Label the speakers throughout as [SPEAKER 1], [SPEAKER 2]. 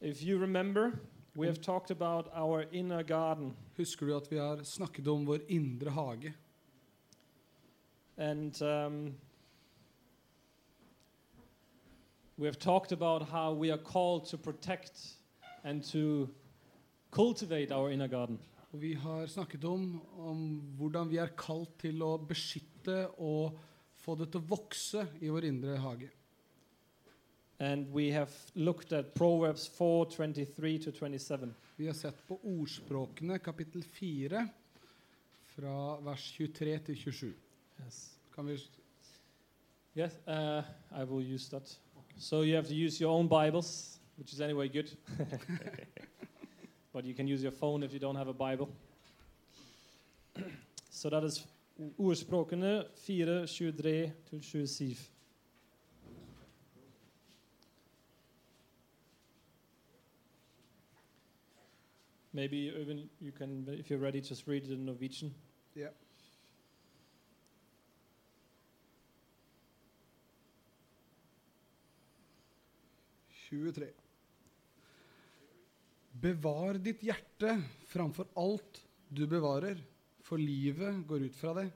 [SPEAKER 1] If you remember, we have talked about our inner garden,
[SPEAKER 2] Husker du at vi har snakket om vår indre hage?
[SPEAKER 1] and um, we have talked about how we are called to protect and to cultivate our inner garden.
[SPEAKER 2] Og vi har snakket om, om hvordan vi er kalt til å beskytte og få det til å vokse i vår indre hage.
[SPEAKER 1] And we have looked at Proverbs 4 23 to 27.
[SPEAKER 2] Vi har sett på ordspråkene kapittel 4 fra vers 23 til 27.
[SPEAKER 1] Yes.
[SPEAKER 2] Kan vi
[SPEAKER 1] Yes, uh, I will use that. So you have to use your own Bibles, which is anyway good. but you can use your phone if you don't have a Bible. so that is Ordspråkene 4, 23 til 27. Maybe even you can, if you're ready, just read it in Norwegian.
[SPEAKER 2] Bevar ditt hjerte framfor alt du bevarer, for livet går ut fra deg.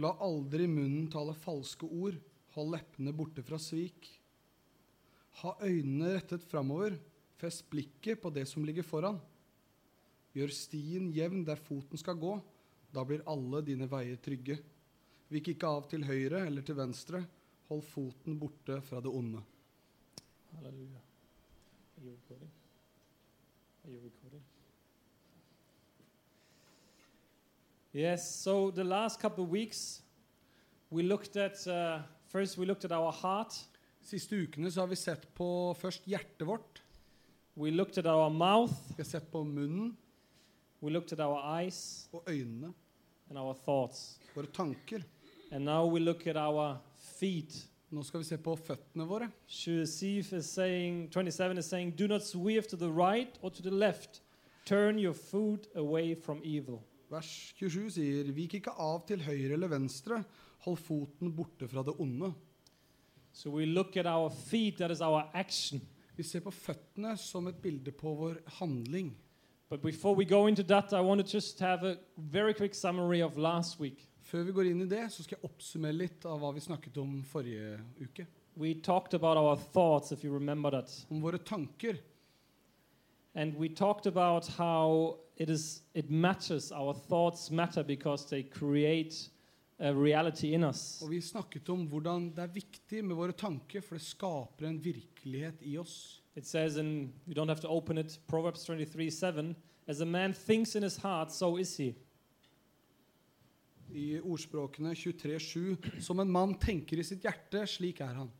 [SPEAKER 2] La aldri munnen tale falske ord, hold leppene borte fra svik. Ha øynene rettet framover, fest blikket på det som ligger foran. Gjør stien jevn der foten skal gå, da blir alle dine veier trygge. Vik ikke av til høyre eller til venstre, hold foten borte fra det onde.
[SPEAKER 1] Hallelujah. Are you recording? Are you recording? Yes, so the last couple of weeks we looked at, uh, first we looked at our heart,
[SPEAKER 2] Siste ukene så har vi sett på først hjertet vårt,
[SPEAKER 1] we looked at our mouth,
[SPEAKER 2] vi har sett på munnen
[SPEAKER 1] we looked at our eyes
[SPEAKER 2] og øynene,
[SPEAKER 1] and our thoughts.
[SPEAKER 2] våre tanker.
[SPEAKER 1] And now we look at our feet.
[SPEAKER 2] Nå skal vi se på føttene våre.
[SPEAKER 1] Shuasif is saying, 27 is saying, do not swerve to the right or to the left. Turn your foot away from evil.
[SPEAKER 2] Vers 27 sier Vik ikke av til høyre eller venstre, hold foten borte fra det onde.
[SPEAKER 1] So we look at our feet, that is our action.
[SPEAKER 2] Vi ser på føttene som et bilde på vår handling.
[SPEAKER 1] But before we go into that, I want to just have a very quick summary of last week.
[SPEAKER 2] Før vi går inn i det, så skal jeg oppsummere litt av hva vi snakket om forrige uke.
[SPEAKER 1] We talked about our thoughts, if you remember that.
[SPEAKER 2] Om våre tanker.
[SPEAKER 1] And we talked about how it is it matters our thoughts matter because they create a reality in us.
[SPEAKER 2] Og vi snakket om hvordan det er viktig med våre tanker, for det skaper en virkelighet i oss.
[SPEAKER 1] It says in you don't have to open it, Proverbs 23, 7, as a man thinks in his heart, so is he.
[SPEAKER 2] I ordspråkene 23.7.: Som en mann tenker i sitt hjerte, slik er han.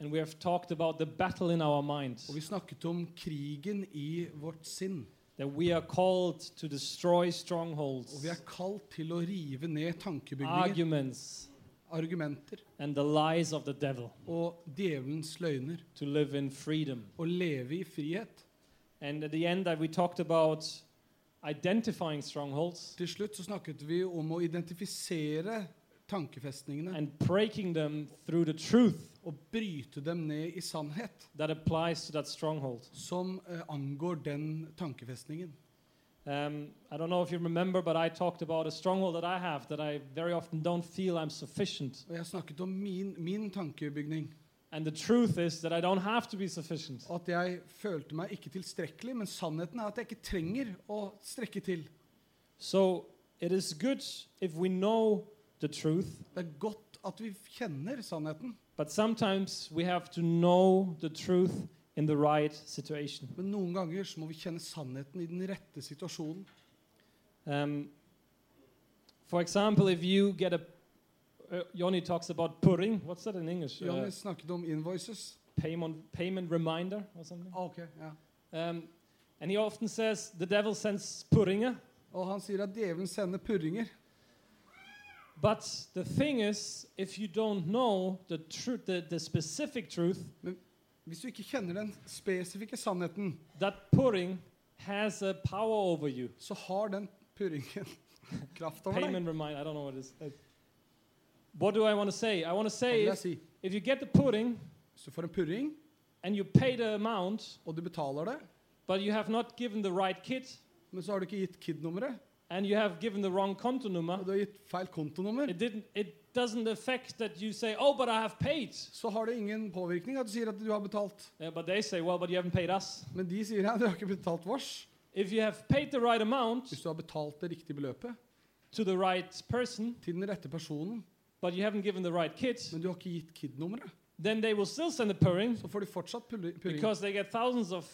[SPEAKER 1] And we have talked about the battle in our mind.
[SPEAKER 2] Og vi snakket om krigen i vårt sinn.
[SPEAKER 1] That we are called to destroy strongholds,
[SPEAKER 2] Og vi er kalt til å rive ned
[SPEAKER 1] Ah,
[SPEAKER 2] tankebygninger,
[SPEAKER 1] arguments,
[SPEAKER 2] argumenter
[SPEAKER 1] and the lies of the devil.
[SPEAKER 2] og djevelens løgner.
[SPEAKER 1] to live in freedom.
[SPEAKER 2] Og leve i frihet.
[SPEAKER 1] And at the end, uh, we talked about identifying strongholds
[SPEAKER 2] Til slutt så snakket vi om å identifisere tankefestningene
[SPEAKER 1] and breaking them through the truth
[SPEAKER 2] og bryte dem ned i sannhet
[SPEAKER 1] that applies to that stronghold.
[SPEAKER 2] som eh, angår den tankefestningen.
[SPEAKER 1] Um, I don't know if you remember, but I talked about a stronghold that I have that I very often don't feel I'm sufficient.
[SPEAKER 2] Og jeg snakket om min, min tankebygning.
[SPEAKER 1] And the truth is that I don't have to be sufficient.
[SPEAKER 2] At jeg følte meg ikke tilstrekkelig, men sannheten er at jeg ikke trenger å strekke til.
[SPEAKER 1] So it is good if we know the truth,
[SPEAKER 2] Det er godt at vi kjenner sannheten,
[SPEAKER 1] but sometimes we have to know the truth in the right situation.
[SPEAKER 2] men noen ganger så må vi kjenne sannheten i den rette situasjonen.
[SPEAKER 1] Um, for example, if you get a uh, Johnny talks about pudding. What's that in English?
[SPEAKER 2] Johnny snakket om invoices.
[SPEAKER 1] Uh, payment payment reminder or something.
[SPEAKER 2] Ah, ok, ja.
[SPEAKER 1] Um, and he often says the devil sends puddinga.
[SPEAKER 2] Og han sier at djevelen sender purringer.
[SPEAKER 1] But the thing is, if you don't know the truth, the, the specific truth,
[SPEAKER 2] Hvis du ikke kjenner den spesifikke sannheten,
[SPEAKER 1] that pudding has a power over you.
[SPEAKER 2] så har den purringen kraft over deg.
[SPEAKER 1] Payment reminder. I don't know what it is. Uh, What do I want to say? I want to
[SPEAKER 2] Hva
[SPEAKER 1] say
[SPEAKER 2] vil
[SPEAKER 1] if,
[SPEAKER 2] jeg si?
[SPEAKER 1] if you get the pudding,
[SPEAKER 2] Hvis du får en purring,
[SPEAKER 1] and you pay the amount,
[SPEAKER 2] og du betaler det,
[SPEAKER 1] but you have not given the right kit,
[SPEAKER 2] men så har du ikke gitt KID-nummeret,
[SPEAKER 1] and you have given the wrong conto number,
[SPEAKER 2] og du har gitt feil kontonummer,
[SPEAKER 1] it didn't. It doesn't affect that you say, "Oh, but I have paid."
[SPEAKER 2] så har det ingen påvirkning at du sier at du har betalt.
[SPEAKER 1] Yeah, but they say, "Well, but you haven't paid us."
[SPEAKER 2] Men de sier ja, du har ikke betalt vårs.
[SPEAKER 1] If you have paid the right amount
[SPEAKER 2] Hvis du har betalt det riktige beløpet
[SPEAKER 1] to the right person,
[SPEAKER 2] til den rette personen,
[SPEAKER 1] but you haven't given the right kit,
[SPEAKER 2] men du har ikke gitt KID-nummeret,
[SPEAKER 1] then they will still send a purring
[SPEAKER 2] så får de fortsatt purring. purring.
[SPEAKER 1] because they get thousands of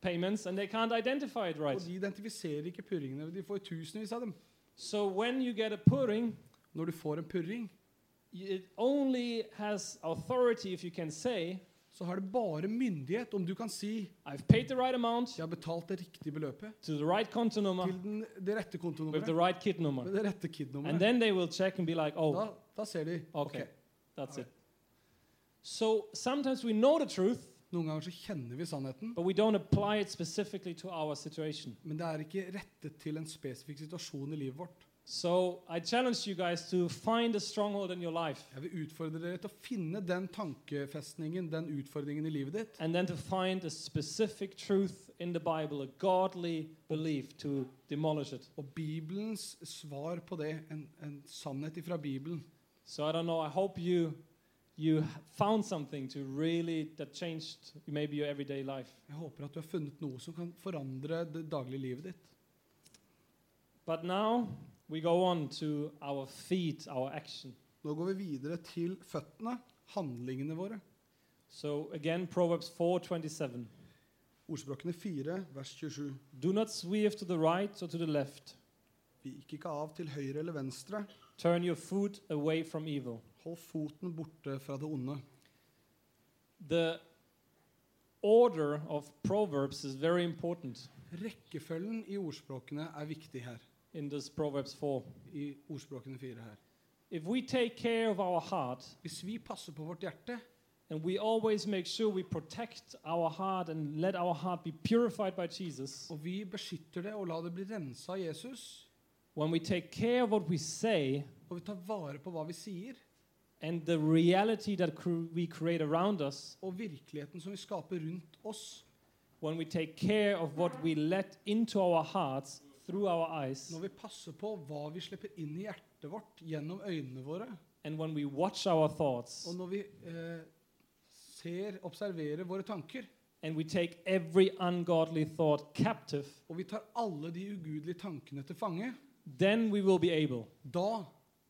[SPEAKER 1] payments and they can't identify it right.
[SPEAKER 2] Og de identifiserer ikke purringene. De får tusenvis av dem.
[SPEAKER 1] So when you get a purring,
[SPEAKER 2] Når du får en purring,
[SPEAKER 1] y- it only has authority if you can say,
[SPEAKER 2] så har det bare myndighet om du kan si
[SPEAKER 1] "I've paid the right amount
[SPEAKER 2] jeg har betalt det riktige beløpet
[SPEAKER 1] to the right conto number
[SPEAKER 2] til den, det rette
[SPEAKER 1] with the
[SPEAKER 2] kontonummeret.
[SPEAKER 1] right kit number,"
[SPEAKER 2] Med det rette
[SPEAKER 1] and
[SPEAKER 2] KID-nummeret.
[SPEAKER 1] then they will check and be like,
[SPEAKER 2] Da,
[SPEAKER 1] "Oh,
[SPEAKER 2] da ser de. Ok.
[SPEAKER 1] okay, that's it." So sometimes we know the truth,
[SPEAKER 2] Noen ganger så kjenner vi sannheten,
[SPEAKER 1] but we don't apply it specifically to our situation.
[SPEAKER 2] men det er ikke rettet til en spesifikk situasjon i livet vårt.
[SPEAKER 1] So I challenge you guys to find a stronghold in your life
[SPEAKER 2] Jeg vil utfordre dere til å finne den tankefestningen, den utfordringen i livet ditt,
[SPEAKER 1] and then to find a specific truth in the Bible, a godly belief to demolish it.
[SPEAKER 2] og Bibelens svar på det, en, en sannhet ifra Bibelen.
[SPEAKER 1] So I don't know, I hope you you h- found something to really that changed maybe your everyday life.
[SPEAKER 2] Jeg håper at du har funnet noe som kan forandre det daglige livet ditt.
[SPEAKER 1] But now we go on to our feet, our action.
[SPEAKER 2] Nå går vi videre til føttene, handlingene våre.
[SPEAKER 1] So again Proverbs 4:27.
[SPEAKER 2] Ordspråkene 4, vers 27.
[SPEAKER 1] Do not swerve to the right or to the left.
[SPEAKER 2] Vik ikke av til høyre eller venstre.
[SPEAKER 1] Turn your foot away from evil.
[SPEAKER 2] Hold foten borte fra det onde.
[SPEAKER 1] the order of proverbs is very important
[SPEAKER 2] Rekkefølgen i ordspråkene er viktig her.
[SPEAKER 1] in this proverbs 4
[SPEAKER 2] I ordspråkene 4 her.
[SPEAKER 1] if we take care of our heart
[SPEAKER 2] Hvis vi passer på vårt hjerte,
[SPEAKER 1] and we always make sure we protect our heart and let our heart be purified by jesus
[SPEAKER 2] og vi beskytter det og lar det bli rensa av Jesus,
[SPEAKER 1] when we take care of what we say
[SPEAKER 2] og vi tar vare på hva vi sier,
[SPEAKER 1] and the reality that cr- we create around us
[SPEAKER 2] og virkeligheten som vi skaper rundt oss,
[SPEAKER 1] when we take care of what we let into our hearts through our eyes
[SPEAKER 2] når vi passer på hva vi slipper inn i hjertet vårt gjennom øynene våre,
[SPEAKER 1] and when we watch our thoughts
[SPEAKER 2] og når vi eh, ser, observerer våre tanker,
[SPEAKER 1] and we take every ungodly thought captive
[SPEAKER 2] og vi tar alle de ugudelige tankene til fange,
[SPEAKER 1] then we will be able
[SPEAKER 2] da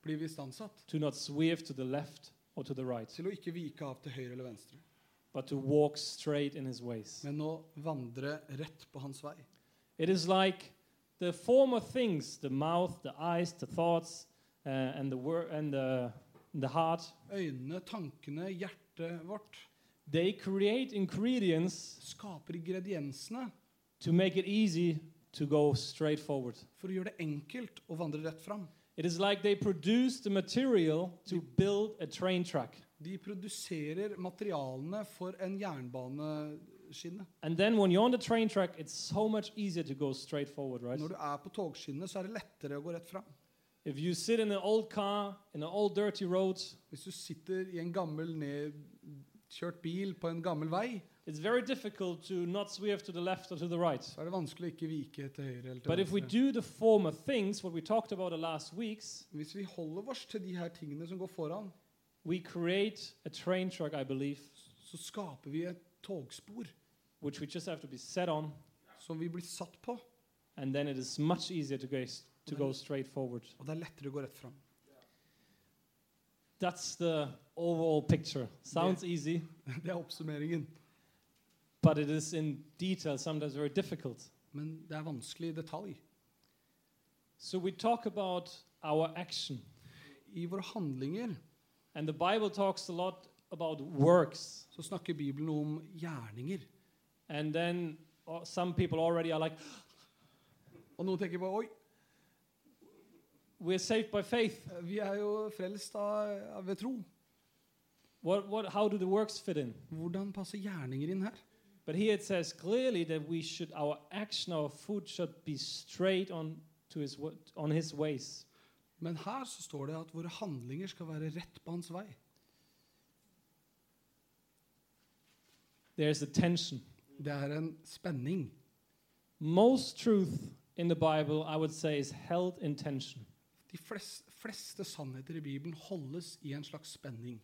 [SPEAKER 2] blir vi istandsatt
[SPEAKER 1] to not swerve to the left or to the right,
[SPEAKER 2] til å ikke vike av til høyre eller venstre,
[SPEAKER 1] but to walk straight in his ways.
[SPEAKER 2] men å vandre rett på hans vei.
[SPEAKER 1] It is like the former things the mouth, the eyes, the thoughts, uh, and, the wor- and the, the heart
[SPEAKER 2] Øynene, tankene, hjertet vårt
[SPEAKER 1] they create ingredients
[SPEAKER 2] skaper ingrediensene
[SPEAKER 1] to make it easy to go straight forward.
[SPEAKER 2] for å gjøre det enkelt å vandre rett fram.
[SPEAKER 1] It is like they produce the material to build a train track.
[SPEAKER 2] De produserer materialene for en jernbaneskinne.
[SPEAKER 1] And then when you're on the train track, it's so much easier to go straight forward, right?
[SPEAKER 2] Når du er på togskinnet, så er det lettere å gå rett fram.
[SPEAKER 1] If you sit in an old car, in an old dirty road,
[SPEAKER 2] Hvis du sitter i en gammel nedkjørt bil på en gammel vei,
[SPEAKER 1] It's very difficult to not swerve to the left or to the right.
[SPEAKER 2] så er det vanskelig å ikke vike til høyre eller
[SPEAKER 1] But
[SPEAKER 2] til
[SPEAKER 1] if we
[SPEAKER 2] venstre.
[SPEAKER 1] do the former things, what we talked about the last weeks,
[SPEAKER 2] Hvis vi holder oss til de her tingene som går foran,
[SPEAKER 1] we create a train track, I believe,
[SPEAKER 2] så skaper vi et togspor
[SPEAKER 1] which we just have to be set on,
[SPEAKER 2] som vi blir satt på,
[SPEAKER 1] and then it is much easier to go, to go straight forward.
[SPEAKER 2] og det er lettere å gå rett fram.
[SPEAKER 1] That's the overall picture. Sounds easy,
[SPEAKER 2] Det er oppsummeringen.
[SPEAKER 1] but it is in detail sometimes very difficult.
[SPEAKER 2] Men det er vanskelig i detalj.
[SPEAKER 1] So we talk about our action,
[SPEAKER 2] I våre handlinger
[SPEAKER 1] and the Bible talks a lot about works.
[SPEAKER 2] så snakker Bibelen om gjerninger.
[SPEAKER 1] And then uh, some people already are like,
[SPEAKER 2] Og noen tenker på Oi,
[SPEAKER 1] we're saved by faith.
[SPEAKER 2] Eh, vi er jo frelst av, av ved tro.
[SPEAKER 1] What, what, how do the works fit in?
[SPEAKER 2] Hvordan passer gjerninger inn her?
[SPEAKER 1] But here it says clearly that we should, our action, our food should be straight on to his wo- on his ways.
[SPEAKER 2] Men her så står det at våre handlinger skal være rett på hans vei.
[SPEAKER 1] There's a tension.
[SPEAKER 2] Det er en spenning.
[SPEAKER 1] Most truth in the Bible, I would say, is held in tension.
[SPEAKER 2] De flest, fleste sannheter i Bibelen holdes i en slags spenning.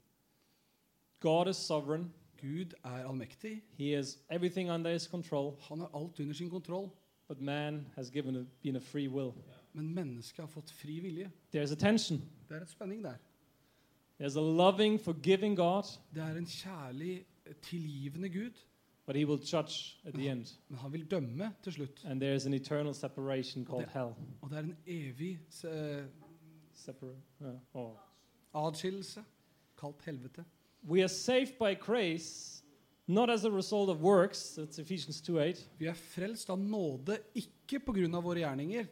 [SPEAKER 1] God is sovereign.
[SPEAKER 2] Gud er allmektig.
[SPEAKER 1] He has everything under his control,
[SPEAKER 2] Han har alt under sin kontroll.
[SPEAKER 1] but man has given a, been a free will.
[SPEAKER 2] Men mennesket har fått fri vilje.
[SPEAKER 1] There's a tension.
[SPEAKER 2] Det er en spenning der.
[SPEAKER 1] There's a loving, forgiving God,
[SPEAKER 2] Det er en kjærlig, tilgivende Gud.
[SPEAKER 1] but he will judge at the end.
[SPEAKER 2] Men han vil dømme til slutt.
[SPEAKER 1] And there's an eternal separation called
[SPEAKER 2] Okay.
[SPEAKER 1] hell.
[SPEAKER 2] Og det er en evig eh,
[SPEAKER 1] Separate. Yeah. Oh.
[SPEAKER 2] adskillelse, kalt helvete.
[SPEAKER 1] We are saved by grace, not as a result of works. That's Ephesians 2.8.
[SPEAKER 2] Vi er frelst av nåde, ikke pga. våre gjerninger,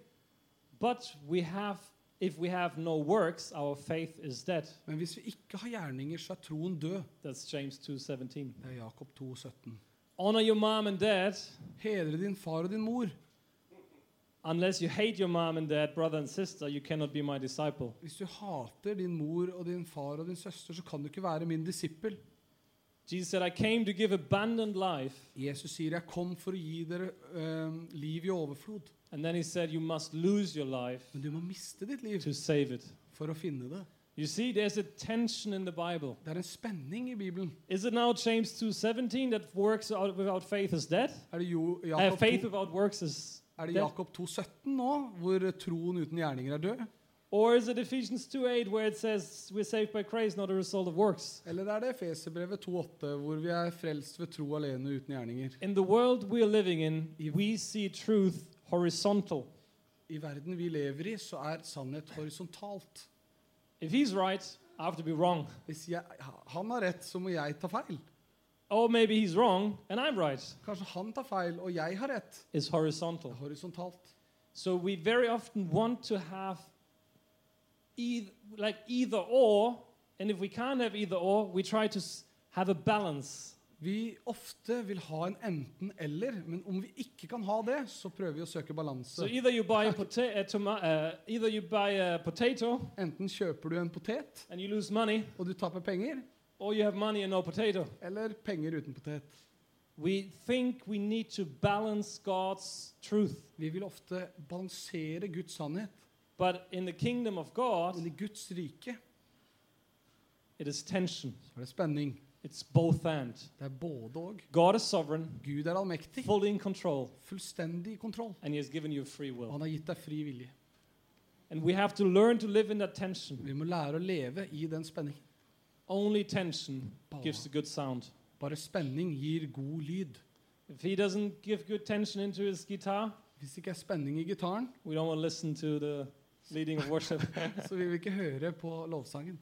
[SPEAKER 1] But we have, if we have no works, our faith is dead.
[SPEAKER 2] men hvis vi ikke har gjerninger, så er troen død.
[SPEAKER 1] That's James 2.17.
[SPEAKER 2] Det er Jakob 2, 17.
[SPEAKER 1] Honor your mom and dad,
[SPEAKER 2] Hedre din far og din mor.
[SPEAKER 1] unless you hate your mom and dad, brother and sister, you cannot be my disciple.
[SPEAKER 2] Hvis du hater din mor og din far og din søster, så kan du ikke være min disippel.
[SPEAKER 1] Jesus said, I came to give abundant life.
[SPEAKER 2] Jesus sier, 'Jeg kom for å gi dere eh, liv i overflod'.
[SPEAKER 1] And then he said, You must lose your life
[SPEAKER 2] Men du må miste ditt liv
[SPEAKER 1] to save it.
[SPEAKER 2] for å finne det.
[SPEAKER 1] You see, there's a tension in the Bible.
[SPEAKER 2] Det er en spenning i Bibelen.
[SPEAKER 1] Is it now James 2.17 that works out without faith is dead?
[SPEAKER 2] Er det, jo,
[SPEAKER 1] Uh,
[SPEAKER 2] Jakob,
[SPEAKER 1] faith
[SPEAKER 2] 2,
[SPEAKER 1] without works is...
[SPEAKER 2] er det Jakob 2, 17 nå, hvor troen uten gjerninger er død?
[SPEAKER 1] Or is it Ephesians 2.8 where it says we're saved by grace, not a result of works?
[SPEAKER 2] Eller er det Efeserbrevet 2,8, hvor vi er frelst ved tro alene uten gjerninger?
[SPEAKER 1] In the world we are living in, we see truth horizontal.
[SPEAKER 2] I verden vi lever i, så er sannhet horisontalt.
[SPEAKER 1] If he's right, I have to be wrong.
[SPEAKER 2] Hvis jeg, han har rett, så må jeg ta feil.
[SPEAKER 1] Or maybe he's wrong and I'm right.
[SPEAKER 2] Kanskje han tar feil, og jeg har rett.
[SPEAKER 1] It's
[SPEAKER 2] Det
[SPEAKER 1] horizontal.
[SPEAKER 2] er horisontalt.
[SPEAKER 1] So we very often want to have eith- like either or, and if we can't have either or, we try to s- have a balance.
[SPEAKER 2] Vi ofte vil ha en enten-eller, men om vi ikke kan ha det, så prøver vi å søke
[SPEAKER 1] So
[SPEAKER 2] balanse.
[SPEAKER 1] either you buy a, pota- a toma- uh, either you buy a potato
[SPEAKER 2] Enten kjøper du en potet,
[SPEAKER 1] and you lose money,
[SPEAKER 2] og du taper penger,
[SPEAKER 1] or you have money and no potato.
[SPEAKER 2] eller penger uten potet.
[SPEAKER 1] We think we need to balance God's truth.
[SPEAKER 2] Vi vil ofte balansere Guds sannhet.
[SPEAKER 1] But in the kingdom of God,
[SPEAKER 2] Men i Guds rike
[SPEAKER 1] it is tension.
[SPEAKER 2] så er det spenning.
[SPEAKER 1] It's both and.
[SPEAKER 2] Det er både og.
[SPEAKER 1] God is sovereign,
[SPEAKER 2] Gud er allmektig,
[SPEAKER 1] fully in control,
[SPEAKER 2] fullstendig i kontroll.
[SPEAKER 1] and He has given you free
[SPEAKER 2] Og
[SPEAKER 1] will.
[SPEAKER 2] han har gitt deg fri vilje.
[SPEAKER 1] And we have to learn to live in that tension.
[SPEAKER 2] Vi må lære å leve i den spenningen.
[SPEAKER 1] Only tension gives a
[SPEAKER 2] Bare,
[SPEAKER 1] good sound.
[SPEAKER 2] bare spenning gir god lyd.
[SPEAKER 1] If He doesn't give good tension into His guitar,
[SPEAKER 2] Hvis det ikke er spenning i gitaren,
[SPEAKER 1] we don't want to listen to the leading of worship.
[SPEAKER 2] så vil vi ikke høre på lovsangen.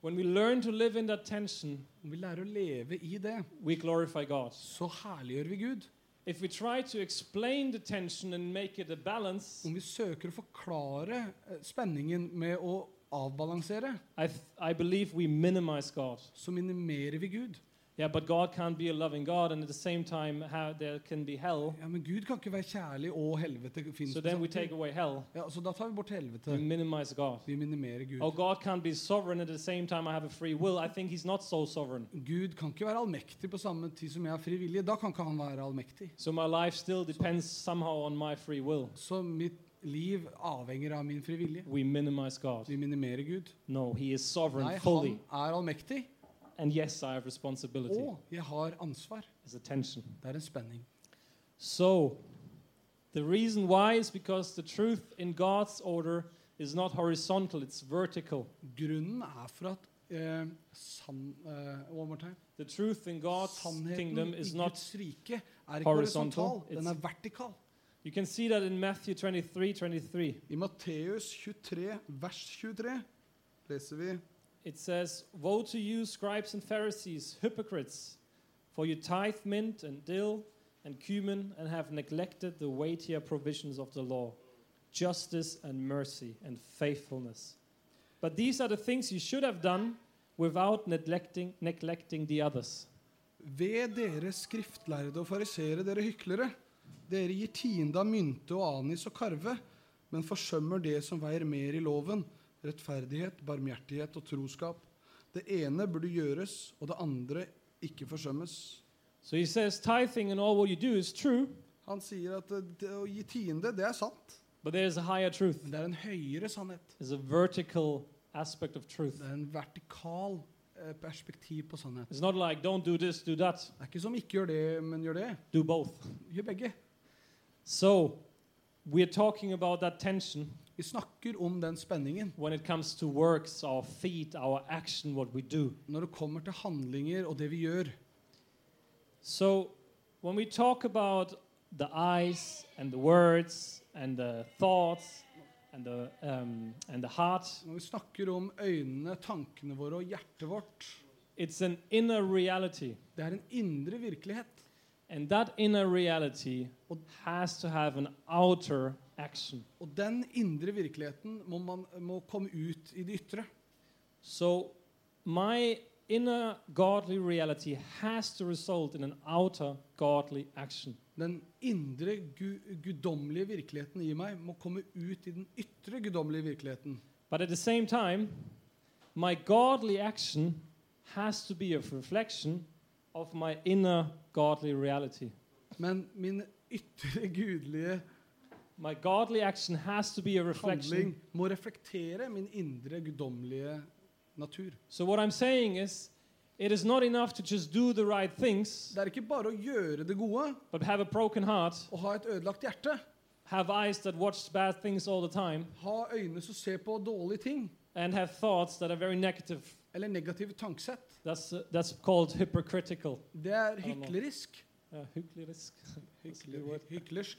[SPEAKER 1] when we learn to live in that tension,
[SPEAKER 2] Om vi lærer å leve i det,
[SPEAKER 1] we glorify God.
[SPEAKER 2] så herliggjør vi Gud.
[SPEAKER 1] If we try to explain the tension and make it a balance,
[SPEAKER 2] Om vi søker å forklare eh, spenningen med å avbalansere,
[SPEAKER 1] I, th- I believe we minimize God.
[SPEAKER 2] så minimerer vi Gud.
[SPEAKER 1] Yeah, but God can't be a loving God, and at the same time, how there can be hell.
[SPEAKER 2] Ja, Men Gud kan ikke være kjærlig og helvete. finnes
[SPEAKER 1] So
[SPEAKER 2] på
[SPEAKER 1] then we
[SPEAKER 2] samtidig.
[SPEAKER 1] take away hell.
[SPEAKER 2] ja, så da tar vi bort helvete.
[SPEAKER 1] We minimize God.
[SPEAKER 2] Vi minimerer Gud.
[SPEAKER 1] Oh, God can't be sovereign at the same time. I have a free will. I think He's not so sovereign.
[SPEAKER 2] Gud kan ikke være allmektig på samme tid som jeg har fri vilje. Da kan ikke han være allmektig.
[SPEAKER 1] So my life still depends somehow on my free will.
[SPEAKER 2] Så mitt liv avhenger av min fri vilje.
[SPEAKER 1] We minimize God.
[SPEAKER 2] Vi minimerer Gud.
[SPEAKER 1] No, He is
[SPEAKER 2] Nei,
[SPEAKER 1] sovereign
[SPEAKER 2] han
[SPEAKER 1] fully.
[SPEAKER 2] er allmektig,
[SPEAKER 1] And yes, I have responsibility.
[SPEAKER 2] og jeg har ansvar.
[SPEAKER 1] There's a tension.
[SPEAKER 2] Det er en spenning.
[SPEAKER 1] So, the reason why is because the truth in God's order is not horizontal, it's vertical.
[SPEAKER 2] Grunnen er for at eh, sann... Eh, one more time.
[SPEAKER 1] The truth in God's
[SPEAKER 2] Sannheten
[SPEAKER 1] kingdom
[SPEAKER 2] i
[SPEAKER 1] is not.
[SPEAKER 2] Guds rike er ikke
[SPEAKER 1] horizontal,
[SPEAKER 2] horisontal, den
[SPEAKER 1] it's-
[SPEAKER 2] er vertikal.
[SPEAKER 1] You can see that in Matthew 23 23.
[SPEAKER 2] I Matteus 23, vers 23, leser vi
[SPEAKER 1] It says, Woe to you, scribes and Pharisees, hypocrites, for you tithe mint and dill and cumin and have neglected the weightier provisions of the law justice and mercy and faithfulness. But these are the things you should have done without neglecting, neglecting the others.
[SPEAKER 2] Ved dere skriftlærde og farisere, dere hyklere. Dere gir tiende av mynte og anis og karve, men forsømmer det som veier mer i loven, rettferdighet, barmhjertighet og troskap. Det ene burde gjøres, og det andre ikke forsømmes.
[SPEAKER 1] So he says tithing and all what you do is true,
[SPEAKER 2] Han sier at eh, det å gi tiende, det er sant.
[SPEAKER 1] but there is a higher truth.
[SPEAKER 2] Men det er en høyere sannhet.
[SPEAKER 1] There's a vertical aspect of truth.
[SPEAKER 2] Det er en vertikal eh, perspektiv på sannhet.
[SPEAKER 1] It's not like don't do this, do that,
[SPEAKER 2] Det er ikke som ikke gjør det, men gjør det.
[SPEAKER 1] do both.
[SPEAKER 2] Gjør begge.
[SPEAKER 1] So we're talking about that tension
[SPEAKER 2] Vi snakker om den spenningen.
[SPEAKER 1] when it comes to works, our feet, our action, what we do.
[SPEAKER 2] Når det kommer til handlinger og det vi gjør,
[SPEAKER 1] So when we talk about the eyes and the words and the thoughts and the um, and the heart,
[SPEAKER 2] når vi snakker om øynene, tankene våre og hjertet vårt,
[SPEAKER 1] it's an inner reality,
[SPEAKER 2] det er en indre virkelighet.
[SPEAKER 1] and that inner reality
[SPEAKER 2] Und-
[SPEAKER 1] has to have an outer action.
[SPEAKER 2] Og den indre virkeligheten må, man, må komme ut i det ytre.
[SPEAKER 1] So my inner godly reality has to result in an outer godly action.
[SPEAKER 2] Den indre gu guddommelige virkeligheten i meg må komme ut i den ytre guddommelige virkeligheten.
[SPEAKER 1] But at the same time, my godly action has to be a reflection of my inner godly reality.
[SPEAKER 2] Men min ytre gudelige
[SPEAKER 1] My godly action has to be a
[SPEAKER 2] handling
[SPEAKER 1] reflection.
[SPEAKER 2] må reflektere min indre guddommelige natur.
[SPEAKER 1] So what I'm saying is it is not enough to just do the right things,
[SPEAKER 2] Det er ikke bare å gjøre det gode
[SPEAKER 1] but have a broken heart,
[SPEAKER 2] og ha et ødelagt hjerte.
[SPEAKER 1] have eyes that watch bad things all the time,
[SPEAKER 2] Ha øyne som ser på dårlige ting,
[SPEAKER 1] and have thoughts that are very negative.
[SPEAKER 2] eller negative tankesett.
[SPEAKER 1] That's, uh, that's called hypocritical.
[SPEAKER 2] Det er hyklerisk.
[SPEAKER 1] Uh, hyklerisk. That's a good
[SPEAKER 2] Hykler,
[SPEAKER 1] word.
[SPEAKER 2] hyklersk.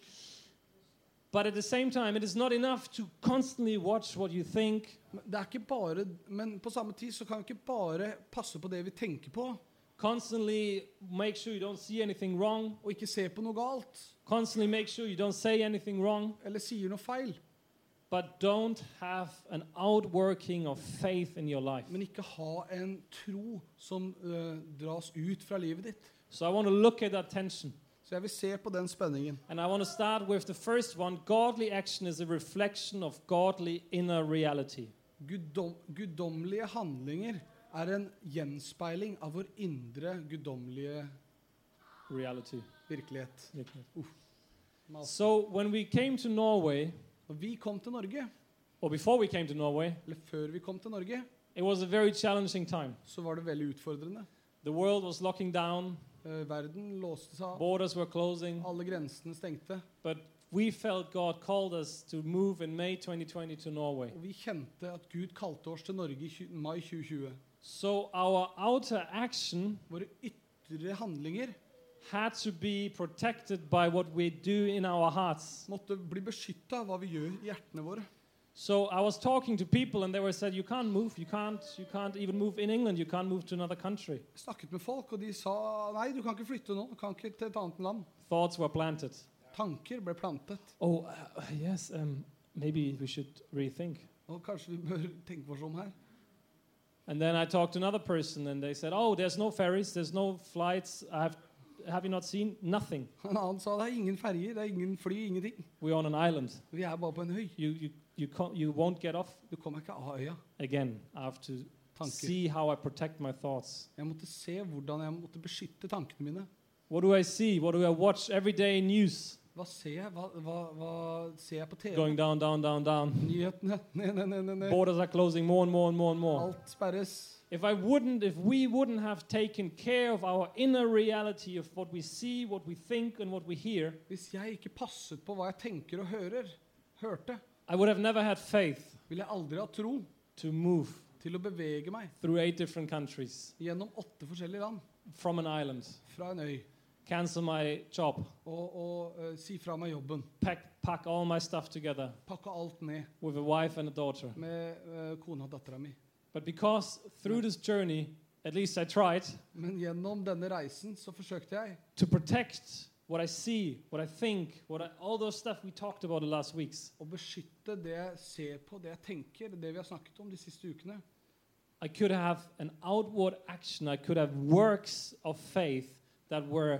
[SPEAKER 1] But at the same time, it is not enough to constantly watch what you think,
[SPEAKER 2] Men Det er ikke bare, men på samme tid så kan vi ikke bare passe på det vi tenker på,
[SPEAKER 1] constantly make sure you don't see anything wrong,
[SPEAKER 2] og ikke se på noe galt,
[SPEAKER 1] constantly make sure you don't say anything wrong,
[SPEAKER 2] eller sier noe feil,
[SPEAKER 1] but don't have an outworking of faith in your life.
[SPEAKER 2] men ikke ha en tro som øh, dras ut fra livet ditt.
[SPEAKER 1] So I want to look at that tension.
[SPEAKER 2] Så jeg vil se på den spenningen.
[SPEAKER 1] And I want to start with the first one. Godly action is a reflection of godly inner reality.
[SPEAKER 2] Guddom, guddommelige handlinger er en gjenspeiling av vår indre guddommelige
[SPEAKER 1] Reality.
[SPEAKER 2] virkelighet.
[SPEAKER 1] So when we came to Norway,
[SPEAKER 2] Når vi kom til Norge,
[SPEAKER 1] or before we came to Norway,
[SPEAKER 2] eller før vi kom til Norge,
[SPEAKER 1] it was a very challenging time.
[SPEAKER 2] så var det veldig utfordrende.
[SPEAKER 1] The world was locking down,
[SPEAKER 2] Eh, Verden låste seg av.
[SPEAKER 1] borders were closing,
[SPEAKER 2] Alle grensene stengte.
[SPEAKER 1] but we felt God called us to move in May 2020 to Norway.
[SPEAKER 2] Og vi kjente at Gud kalte oss til Norge i tju- mai 2020.
[SPEAKER 1] So our outer action
[SPEAKER 2] Våre ytre handlinger
[SPEAKER 1] had to be protected by what we do in our hearts.
[SPEAKER 2] måtte bli beskytta av hva vi gjør i hjertene våre.
[SPEAKER 1] So I was talking to people and they were said you can't move, you can't you can't even move in England, you can't move to another country.
[SPEAKER 2] Jeg snakket med folk, og de sa nei, du kan ikke flytte nå. Du kan ikke til et annet land.
[SPEAKER 1] Thoughts were planted.
[SPEAKER 2] Tanker ble plantet.
[SPEAKER 1] Oh, uh, uh, yes, um, maybe we should rethink.
[SPEAKER 2] Og kanskje vi bør tenke oss om her.
[SPEAKER 1] And then I talked to another person and they said, "Oh, there's no ferries, there's no flights. I have have you not seen nothing?
[SPEAKER 2] En annen sa det er ingen ferger, det er ingen fly, ingenting.
[SPEAKER 1] We're on an island.
[SPEAKER 2] Vi er bare på en høy.
[SPEAKER 1] You you you can't, you won't get off
[SPEAKER 2] Du kommer ikke av øya.
[SPEAKER 1] again. I have to
[SPEAKER 2] Tanker.
[SPEAKER 1] see how I protect my thoughts.
[SPEAKER 2] Jeg måtte se hvordan jeg måtte beskytte tankene mine.
[SPEAKER 1] What do I see? What do I watch every day news?
[SPEAKER 2] Hva ser jeg? Hva, hva, hva ser jeg på TV?
[SPEAKER 1] Going down, down, down, down.
[SPEAKER 2] Nyhetene. Ned, ned, ned, ned, ned.
[SPEAKER 1] Borders are closing more and more and more and more.
[SPEAKER 2] Alt sperres.
[SPEAKER 1] If I wouldn't, if we wouldn't have taken care of our inner reality of what we see, what we think, and what we hear,
[SPEAKER 2] Hvis jeg ikke passet på hva jeg tenker og hører, hørte,
[SPEAKER 1] I would have never had faith
[SPEAKER 2] ville jeg aldri ha tro
[SPEAKER 1] to move
[SPEAKER 2] til å bevege meg
[SPEAKER 1] through eight different countries
[SPEAKER 2] gjennom åtte forskjellige land
[SPEAKER 1] from an island,
[SPEAKER 2] fra en øy
[SPEAKER 1] cancel my job,
[SPEAKER 2] og, og eh, si fra meg jobben.
[SPEAKER 1] pack, pack all my stuff together
[SPEAKER 2] Pakke alt ned
[SPEAKER 1] with a wife and a daughter.
[SPEAKER 2] med eh, kona og dattera mi.
[SPEAKER 1] But because through this journey, at least I tried
[SPEAKER 2] Men gjennom denne reisen så forsøkte jeg
[SPEAKER 1] to protect what I see, what I think, what I, all those stuff we talked about the last weeks.
[SPEAKER 2] å beskytte det jeg ser på, det jeg tenker, det vi har snakket om de siste ukene.
[SPEAKER 1] I could have an outward action. I could have works of faith that were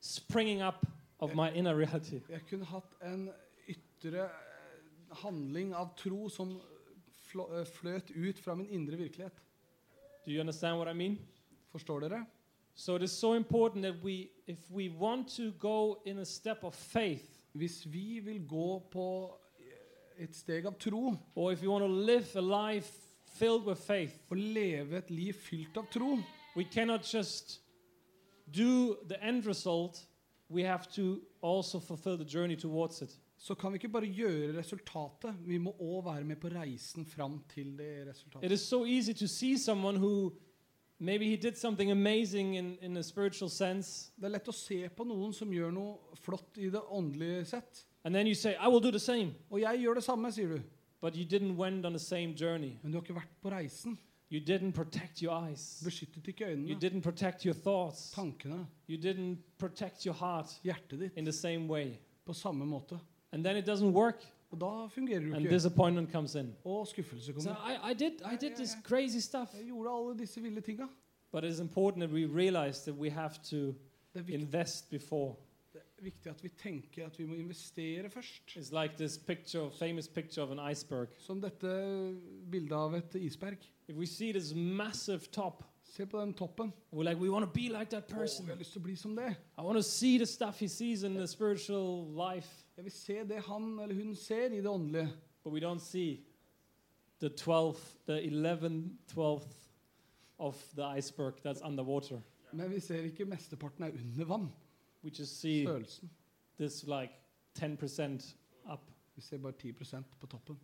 [SPEAKER 1] springing up of my inner reality.
[SPEAKER 2] Jeg kunne hatt en ytre eh, handling av tro som flå- eh, fløt ut fra min indre virkelighet.
[SPEAKER 1] Do you understand what I mean?
[SPEAKER 2] Forstår dere?
[SPEAKER 1] So it is so important that we, if we want to go in a step of faith,
[SPEAKER 2] Hvis vi vil gå på eh, et steg av tro,
[SPEAKER 1] or if you want to live a life filled with faith,
[SPEAKER 2] og leve et liv fylt av tro,
[SPEAKER 1] we cannot just do the end result. We have to also fulfill the journey towards it.
[SPEAKER 2] så kan vi ikke bare gjøre resultatet, vi må òg være med på reisen fram til det
[SPEAKER 1] It
[SPEAKER 2] resultatet.
[SPEAKER 1] is so easy to see someone who maybe he did something amazing in, in a spiritual sense,
[SPEAKER 2] Det er lett å se på noen som gjør noe flott i det åndelige sett.
[SPEAKER 1] and then you say, I will do the same.
[SPEAKER 2] Og jeg gjør det samme, sier du.
[SPEAKER 1] But you didn't went on the same journey.
[SPEAKER 2] Men du har ikke vært på reisen.
[SPEAKER 1] You didn't protect your eyes.
[SPEAKER 2] Beskyttet ikke
[SPEAKER 1] You
[SPEAKER 2] øynene,
[SPEAKER 1] didn't protect your thoughts.
[SPEAKER 2] tankene,
[SPEAKER 1] You didn't protect your heart
[SPEAKER 2] hjertet ditt
[SPEAKER 1] in the same way.
[SPEAKER 2] på samme måte.
[SPEAKER 1] And then it doesn't work,
[SPEAKER 2] Og da fungerer du
[SPEAKER 1] and
[SPEAKER 2] ikke.
[SPEAKER 1] disappointment comes in.
[SPEAKER 2] Og skuffelse
[SPEAKER 1] So
[SPEAKER 2] kommer.
[SPEAKER 1] I, I did, I did this crazy stuff.
[SPEAKER 2] Jeg gjorde alle disse ville tinga.
[SPEAKER 1] But it is important that we realize that we have to
[SPEAKER 2] Det er viktig,
[SPEAKER 1] invest before.
[SPEAKER 2] det er viktig at vi tenker at vi må investere først.
[SPEAKER 1] It's like this picture, famous picture of an iceberg.
[SPEAKER 2] Som dette bildet av et isberg.
[SPEAKER 1] If we see this massive top,
[SPEAKER 2] Se på den toppen.
[SPEAKER 1] we're like, we want to be like that
[SPEAKER 2] Å, jeg
[SPEAKER 1] person.
[SPEAKER 2] har lyst til å bli som det.
[SPEAKER 1] I want to see the stuff he sees in the spiritual life,
[SPEAKER 2] Jeg vil se det han eller hun ser i det åndelige.
[SPEAKER 1] but we don't see the 12th, the 11th, 12th of the iceberg that's underwater.
[SPEAKER 2] Men vi ser ikke mesteparten er under vann.
[SPEAKER 1] We just see
[SPEAKER 2] Størrelsen.
[SPEAKER 1] this like 10% up.
[SPEAKER 2] Vi ser bare 10 på toppen.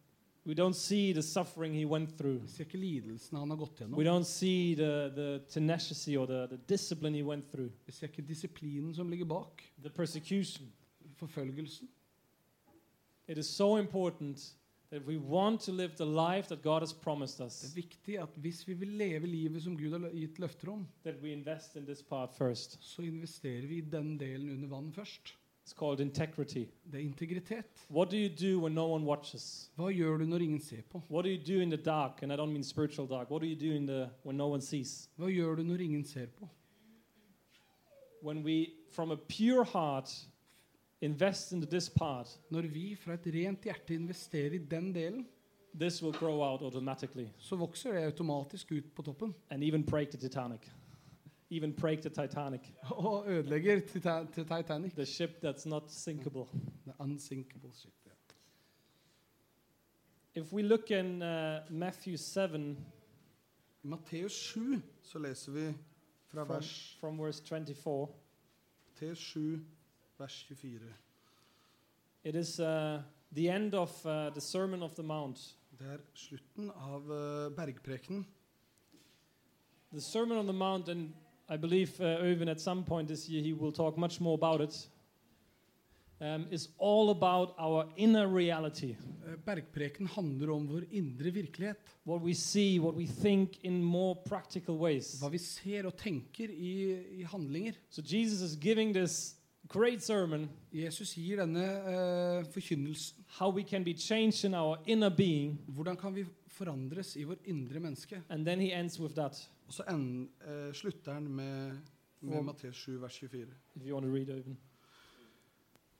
[SPEAKER 1] We don't see the suffering he went through.
[SPEAKER 2] Vi ser ikke lidelsen han har gått gjennom.
[SPEAKER 1] We don't see the, the tenacity or the, the discipline he went through,
[SPEAKER 2] Vi ser ikke disiplinen som ligger bak.
[SPEAKER 1] the persecution.
[SPEAKER 2] Forfølgelsen.
[SPEAKER 1] It is so important that if we want to live the life that God has promised
[SPEAKER 2] Det er
[SPEAKER 1] us,
[SPEAKER 2] viktig at hvis vi vil leve livet som Gud har lø- gitt løfter om,
[SPEAKER 1] that we invest in this part first.
[SPEAKER 2] så investerer vi i den delen under vann først.
[SPEAKER 1] It's called integrity.
[SPEAKER 2] Det er integritet.
[SPEAKER 1] What do you do when no one watches?
[SPEAKER 2] Hva gjør du når ingen ser på?
[SPEAKER 1] What do you do in the dark? And I don't mean spiritual dark. What do you do in the when no one sees?
[SPEAKER 2] Hva gjør du når ingen ser på?
[SPEAKER 1] When we, from a pure heart, invest into this part,
[SPEAKER 2] Når vi fra et rent hjerte investerer i den delen,
[SPEAKER 1] this will grow out automatically
[SPEAKER 2] så vokser det automatisk ut på toppen
[SPEAKER 1] and even break the Titanic. Even break the Titanic.
[SPEAKER 2] og ødelegger Tita- til Titanic.
[SPEAKER 1] The ship that's not sinkable.
[SPEAKER 2] The unsinkable ship. ja.
[SPEAKER 1] If we look in uh, Matthew 7
[SPEAKER 2] I Matteus 7 så leser vi fra
[SPEAKER 1] from,
[SPEAKER 2] vers
[SPEAKER 1] from verse 24,
[SPEAKER 2] Matteus 7, vers 24.
[SPEAKER 1] it is uh, the end of uh, the Sermon of the Mount.
[SPEAKER 2] Det er slutten av eh, bergprekenen.
[SPEAKER 1] The Sermon on the Mount, and I believe uh, Irvin at some point this year he will talk much more about it, um, is all about our inner reality.
[SPEAKER 2] Eh, Bergpreken handler om vår indre virkelighet.
[SPEAKER 1] What we see, what we think in more practical ways.
[SPEAKER 2] Hva vi ser og tenker i, i handlinger.
[SPEAKER 1] So Jesus is giving this great sermon
[SPEAKER 2] Jesus gir denne eh, forkynnelsen.
[SPEAKER 1] how we can be changed in our inner being,
[SPEAKER 2] Hvordan kan vi forandres i vår indre menneske?
[SPEAKER 1] and then he ends with that.
[SPEAKER 2] Og så en, eh, slutter han med, med
[SPEAKER 1] Om-
[SPEAKER 2] Matteus 7, vers 24.
[SPEAKER 1] If you want to read, Irvin.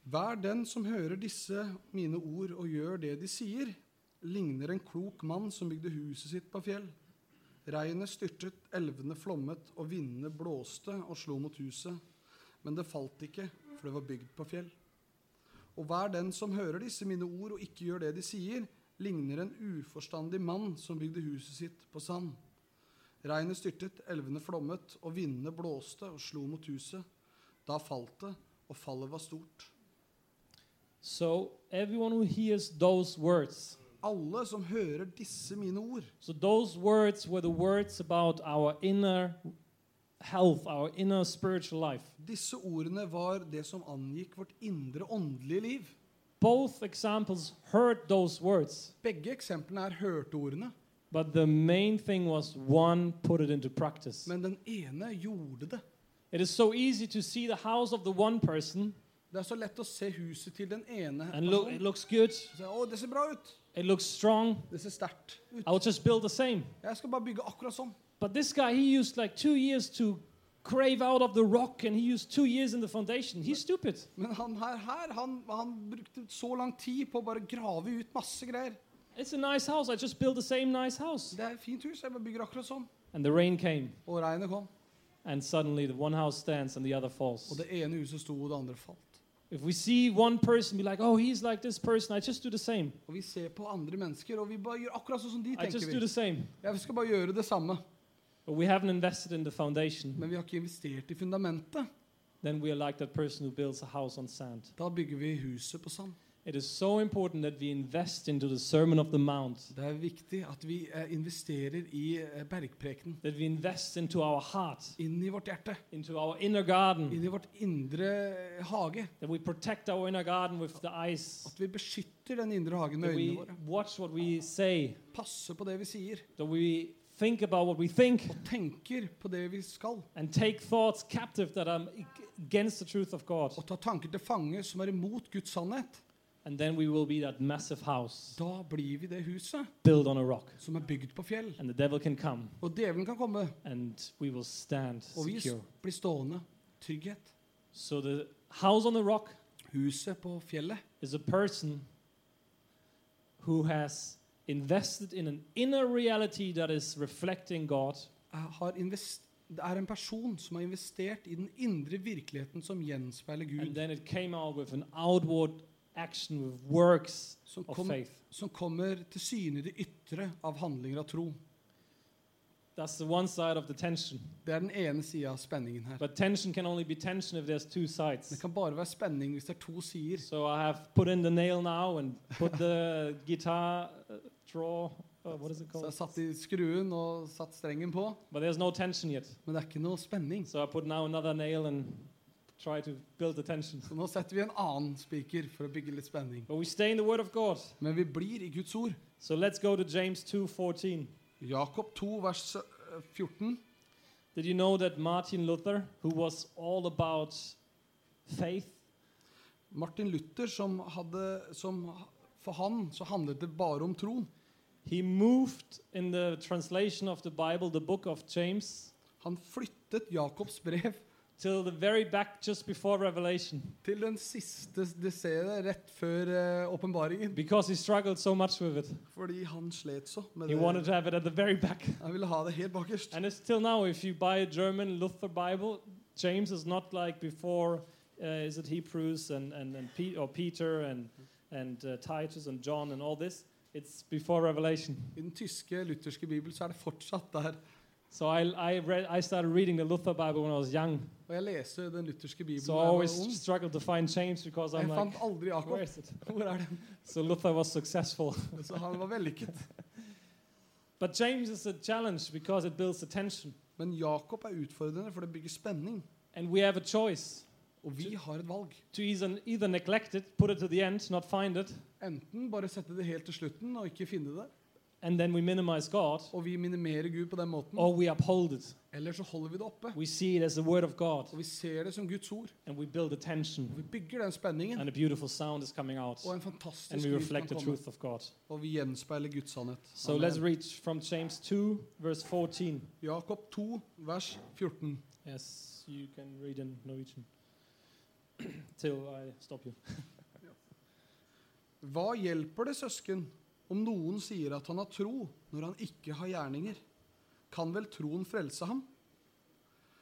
[SPEAKER 2] Vær den som hører disse mine ord og gjør det de sier, ligner en klok mann som bygde huset sitt på fjell. Regnet styrtet, elvene flommet, og vindene blåste og slo mot huset. Men det falt ikke, for det var bygd på fjell. Og vær den som hører disse mine ord og ikke gjør det de sier, ligner en uforstandig mann som bygde huset sitt på sand. Regnet styrtet, elvene flommet, og vindene blåste og slo mot huset. Da falt det, og fallet var stort.
[SPEAKER 1] So everyone who hears those words,
[SPEAKER 2] Alle som hører disse mine ord.
[SPEAKER 1] so those words were the words about our inner health, our inner spiritual life.
[SPEAKER 2] Disse ordene var det som angikk vårt indre åndelige liv.
[SPEAKER 1] Both examples heard those words,
[SPEAKER 2] Begge eksemplene er hørte ordene,
[SPEAKER 1] but the main thing was one put it into practice.
[SPEAKER 2] men den ene gjorde det.
[SPEAKER 1] It is so easy to see the house of the one person
[SPEAKER 2] Det er så lett å se huset til den ene.
[SPEAKER 1] and look it
[SPEAKER 2] personen.
[SPEAKER 1] looks good,
[SPEAKER 2] Så, Å, det ser bra ut.
[SPEAKER 1] it looks strong.
[SPEAKER 2] Det ser sterkt ut.
[SPEAKER 1] I'll just build the same.
[SPEAKER 2] Jeg skal bare bygge akkurat sånn.
[SPEAKER 1] But this guy, he used like two years to crave out of the rock, and he used two years in the foundation. He's stupid.
[SPEAKER 2] Men han her, her han, han brukte så lang tid på å bare grave ut masse greier.
[SPEAKER 1] It's a nice house. I just built the same nice house.
[SPEAKER 2] Det er et fint hus, jeg bare bygger akkurat sånn.
[SPEAKER 1] And the rain came.
[SPEAKER 2] Og regnet kom.
[SPEAKER 1] and suddenly the one house stands and the other falls.
[SPEAKER 2] Og det ene huset sto, og det andre falt.
[SPEAKER 1] If we see one person be like, oh, he's like this person, I just do the same.
[SPEAKER 2] Og vi ser på andre mennesker, og vi bare gjør akkurat sånn som de
[SPEAKER 1] I just
[SPEAKER 2] tenker.
[SPEAKER 1] do
[SPEAKER 2] vi.
[SPEAKER 1] the same.
[SPEAKER 2] Jeg skal bare gjøre det samme.
[SPEAKER 1] But we haven't invested in the foundation.
[SPEAKER 2] Men vi har ikke investert i fundamentet.
[SPEAKER 1] Then we are like that person who builds a house on sand.
[SPEAKER 2] Da bygger vi huset på sand.
[SPEAKER 1] It is so important that we invest into the Sermon of the Mount,
[SPEAKER 2] Det er viktig at vi eh, investerer i eh, bergprekenen.
[SPEAKER 1] that we invest into our heart,
[SPEAKER 2] Inn i vårt hjerte.
[SPEAKER 1] into our inner garden,
[SPEAKER 2] Inn i vårt indre eh, hage.
[SPEAKER 1] that we protect our inner garden with the eyes,
[SPEAKER 2] At vi beskytter den indre hagen
[SPEAKER 1] that
[SPEAKER 2] med
[SPEAKER 1] we
[SPEAKER 2] øynene våre.
[SPEAKER 1] watch what we say,
[SPEAKER 2] Passer på det vi sier.
[SPEAKER 1] that we think about what we think,
[SPEAKER 2] Og tenker på det vi skal.
[SPEAKER 1] and take thoughts captive that are against the truth of God.
[SPEAKER 2] Og tar tanker til fange som er imot Guds sannhet.
[SPEAKER 1] And then we will be that massive house
[SPEAKER 2] Da blir vi det huset
[SPEAKER 1] built on a rock.
[SPEAKER 2] som er bygd på fjell.
[SPEAKER 1] And the devil can come,
[SPEAKER 2] Og djevelen kan komme,
[SPEAKER 1] and we will stand
[SPEAKER 2] og vi s-
[SPEAKER 1] secure.
[SPEAKER 2] blir stående. Trygghet.
[SPEAKER 1] So the house on the rock
[SPEAKER 2] Huset på fjellet
[SPEAKER 1] is a person who has invested in an inner reality that is reflecting God,
[SPEAKER 2] er, har invest, det er en person som har investert i den indre virkeligheten som gjenspeiler
[SPEAKER 1] and
[SPEAKER 2] Gud.
[SPEAKER 1] then it came out with an outward action with works
[SPEAKER 2] Som,
[SPEAKER 1] of
[SPEAKER 2] kom,
[SPEAKER 1] faith.
[SPEAKER 2] som kommer til syne i det ytre av handlinger av tro.
[SPEAKER 1] That's the one side of the tension.
[SPEAKER 2] Det er den ene sida av spenningen her.
[SPEAKER 1] But tension can only be tension if there's two
[SPEAKER 2] Det
[SPEAKER 1] sides.
[SPEAKER 2] kan bare være spenning hvis det er to sider.
[SPEAKER 1] So I have put in the nail now and put the guitar uh, draw. Uh, what is it
[SPEAKER 2] Så
[SPEAKER 1] called?
[SPEAKER 2] jeg satt i skruen og satt strengen på,
[SPEAKER 1] But there's no tension yet.
[SPEAKER 2] men det er ikke noe spenning.
[SPEAKER 1] So I put now another nail and try to build the tension.
[SPEAKER 2] Så nå setter vi en annen spiker for å bygge litt spenning.
[SPEAKER 1] But we stay in the Word of God.
[SPEAKER 2] Men vi blir i Guds ord.
[SPEAKER 1] So let's go to James 2:14.
[SPEAKER 2] Jakob 2, vers eh, 14.
[SPEAKER 1] Did you know that Martin Luther, who was all about faith,
[SPEAKER 2] Martin Luther, som hadde, som, for han så handlet det bare om tro.
[SPEAKER 1] he moved in the translation of the Bible, the book of James,
[SPEAKER 2] Han flyttet Jakobs brev
[SPEAKER 1] till the very back just before Revelation
[SPEAKER 2] til den siste desseret rett før eh, åpenbaringen.
[SPEAKER 1] because he struggled so much with it.
[SPEAKER 2] Fordi han slet så med
[SPEAKER 1] He wanted
[SPEAKER 2] det.
[SPEAKER 1] to have it at the very back.
[SPEAKER 2] Han ville ha det helt bakerst.
[SPEAKER 1] And it's still now, if you buy a German Luther Bible, James is not like before. Uh, is it Hebrews and and, and Pe- or Peter and and uh, Titus and John and all this? It's before Revelation.
[SPEAKER 2] I den tyske lutherske bibel så er det fortsatt der.
[SPEAKER 1] So I I read I started reading the Luther Bible when I was young.
[SPEAKER 2] Og jeg leser den lutherske bibelen
[SPEAKER 1] So I
[SPEAKER 2] når jeg
[SPEAKER 1] always
[SPEAKER 2] var ung.
[SPEAKER 1] struggled to find James because I'm
[SPEAKER 2] Jeg
[SPEAKER 1] like,
[SPEAKER 2] fant aldri
[SPEAKER 1] where
[SPEAKER 2] Jakob.
[SPEAKER 1] is it?
[SPEAKER 2] Hvor er den?
[SPEAKER 1] So Luther was successful.
[SPEAKER 2] Så han var vellykket.
[SPEAKER 1] But James is a challenge because it builds attention,
[SPEAKER 2] Men Jakob er utfordrende, for det bygger spenning.
[SPEAKER 1] and we have a choice
[SPEAKER 2] Og vi har et valg.
[SPEAKER 1] to either, either neglect it, put it to the end, not find it,
[SPEAKER 2] Enten bare sette det helt til slutten og ikke finne det,
[SPEAKER 1] and then we minimize God,
[SPEAKER 2] og vi minimerer Gud på den måten,
[SPEAKER 1] or we uphold it.
[SPEAKER 2] eller så holder vi det oppe.
[SPEAKER 1] We see it as the word of God
[SPEAKER 2] Og vi ser det som Guds ord.
[SPEAKER 1] and we build a
[SPEAKER 2] Og
[SPEAKER 1] tension
[SPEAKER 2] vi bygger den spenningen,
[SPEAKER 1] and a beautiful sound is coming out
[SPEAKER 2] og en
[SPEAKER 1] and
[SPEAKER 2] fantastisk
[SPEAKER 1] we
[SPEAKER 2] lyd
[SPEAKER 1] reflect
[SPEAKER 2] kan
[SPEAKER 1] the
[SPEAKER 2] komme.
[SPEAKER 1] truth of God.
[SPEAKER 2] Og vi gjenspeiler Guds sannhet.
[SPEAKER 1] So
[SPEAKER 2] Amen.
[SPEAKER 1] let's read from James 2 verse 14.
[SPEAKER 2] Jakob 2, vers 14.
[SPEAKER 1] Yes, you can read in Norwegian till I stop you.
[SPEAKER 2] Hva hjelper det, søsken, om noen sier at han har tro, når han ikke har gjerninger? Kan vel troen frelse ham?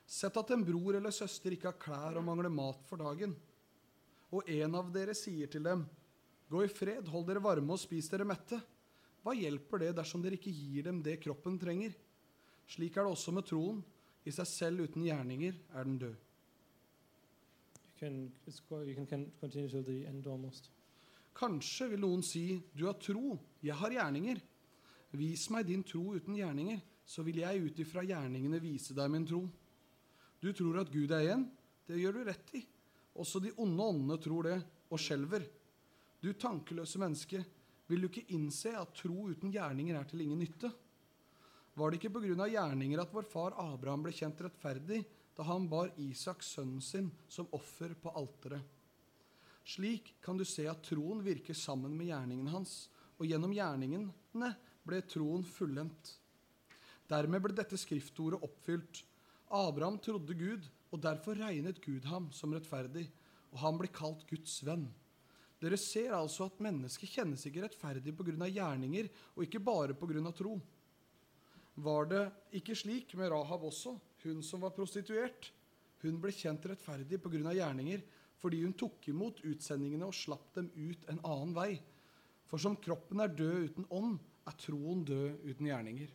[SPEAKER 2] Sett at en bror eller søster ikke har klær og mangler mat for dagen, og en av dere sier til dem, gå i fred, hold dere varme og spis dere mette. Hva hjelper det dersom dere ikke gir dem det kroppen trenger? Slik er det også med troen. I seg selv uten gjerninger er den død.
[SPEAKER 1] You can it's, go- you can, can continue till the end almost.
[SPEAKER 2] Kanskje vil noen si, du har tro, jeg har gjerninger. Vis meg din tro uten gjerninger, så vil jeg ut ifra gjerningene vise deg min tro. Du tror at Gud er én, det gjør du rett i. Også de onde åndene tror det, og skjelver. Du tankeløse menneske, vil du ikke innse at tro uten gjerninger er til ingen nytte? Var det ikke på grunn av gjerninger at vår far Abraham ble kjent rettferdig da han bar Isaks sønnen sin som offer på alteret? Slik kan du se at troen virker sammen med gjerningen hans, og gjennom gjerningene ble troen fullendt. Dermed ble dette skriftordet oppfylt. Abraham trodde Gud, og derfor regnet Gud ham som rettferdig, og han ble kalt Guds venn. Dere ser altså at mennesket kjennes ikke rettferdig pga. gjerninger, og ikke bare pga. tro. Var det ikke slik med Rahab også? Hun som var prostituert, hun ble kjent rettferdig pga. gjerninger fordi hun tok imot utsendingene og slapp dem ut en annen vei. For som kroppen er død uten ånd, er troen død uten gjerninger.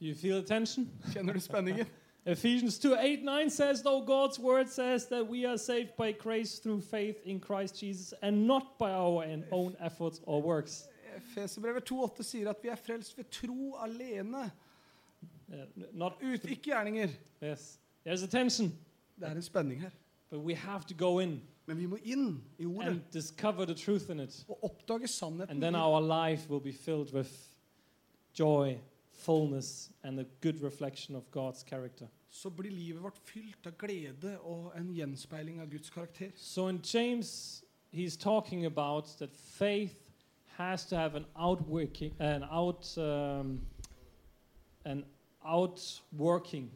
[SPEAKER 1] Do you feel the tension?
[SPEAKER 2] Kjenner du spenningen?
[SPEAKER 1] Ephesians 2 8 9 says, Though God's word says that we are saved by grace through faith in Christ Jesus and not by our en- own efforts or works.
[SPEAKER 2] Efeserbrevet 2,8 sier at vi er frelst ved tro alene,
[SPEAKER 1] Uh, n- not
[SPEAKER 2] ut, ikke gjerninger.
[SPEAKER 1] Yes. There's a tension,
[SPEAKER 2] Det er en spenning her.
[SPEAKER 1] but we have to go in
[SPEAKER 2] Men vi må inn i ordet
[SPEAKER 1] and discover the truth in it.
[SPEAKER 2] og oppdage sannheten.
[SPEAKER 1] And then our life will be filled with joy, fullness, and a good reflection of God's character.
[SPEAKER 2] Så blir livet vårt fylt av glede og en gjenspeiling av Guds karakter.
[SPEAKER 1] So in James, he's talking about that faith has to have an outworking, an out, um, an outworking.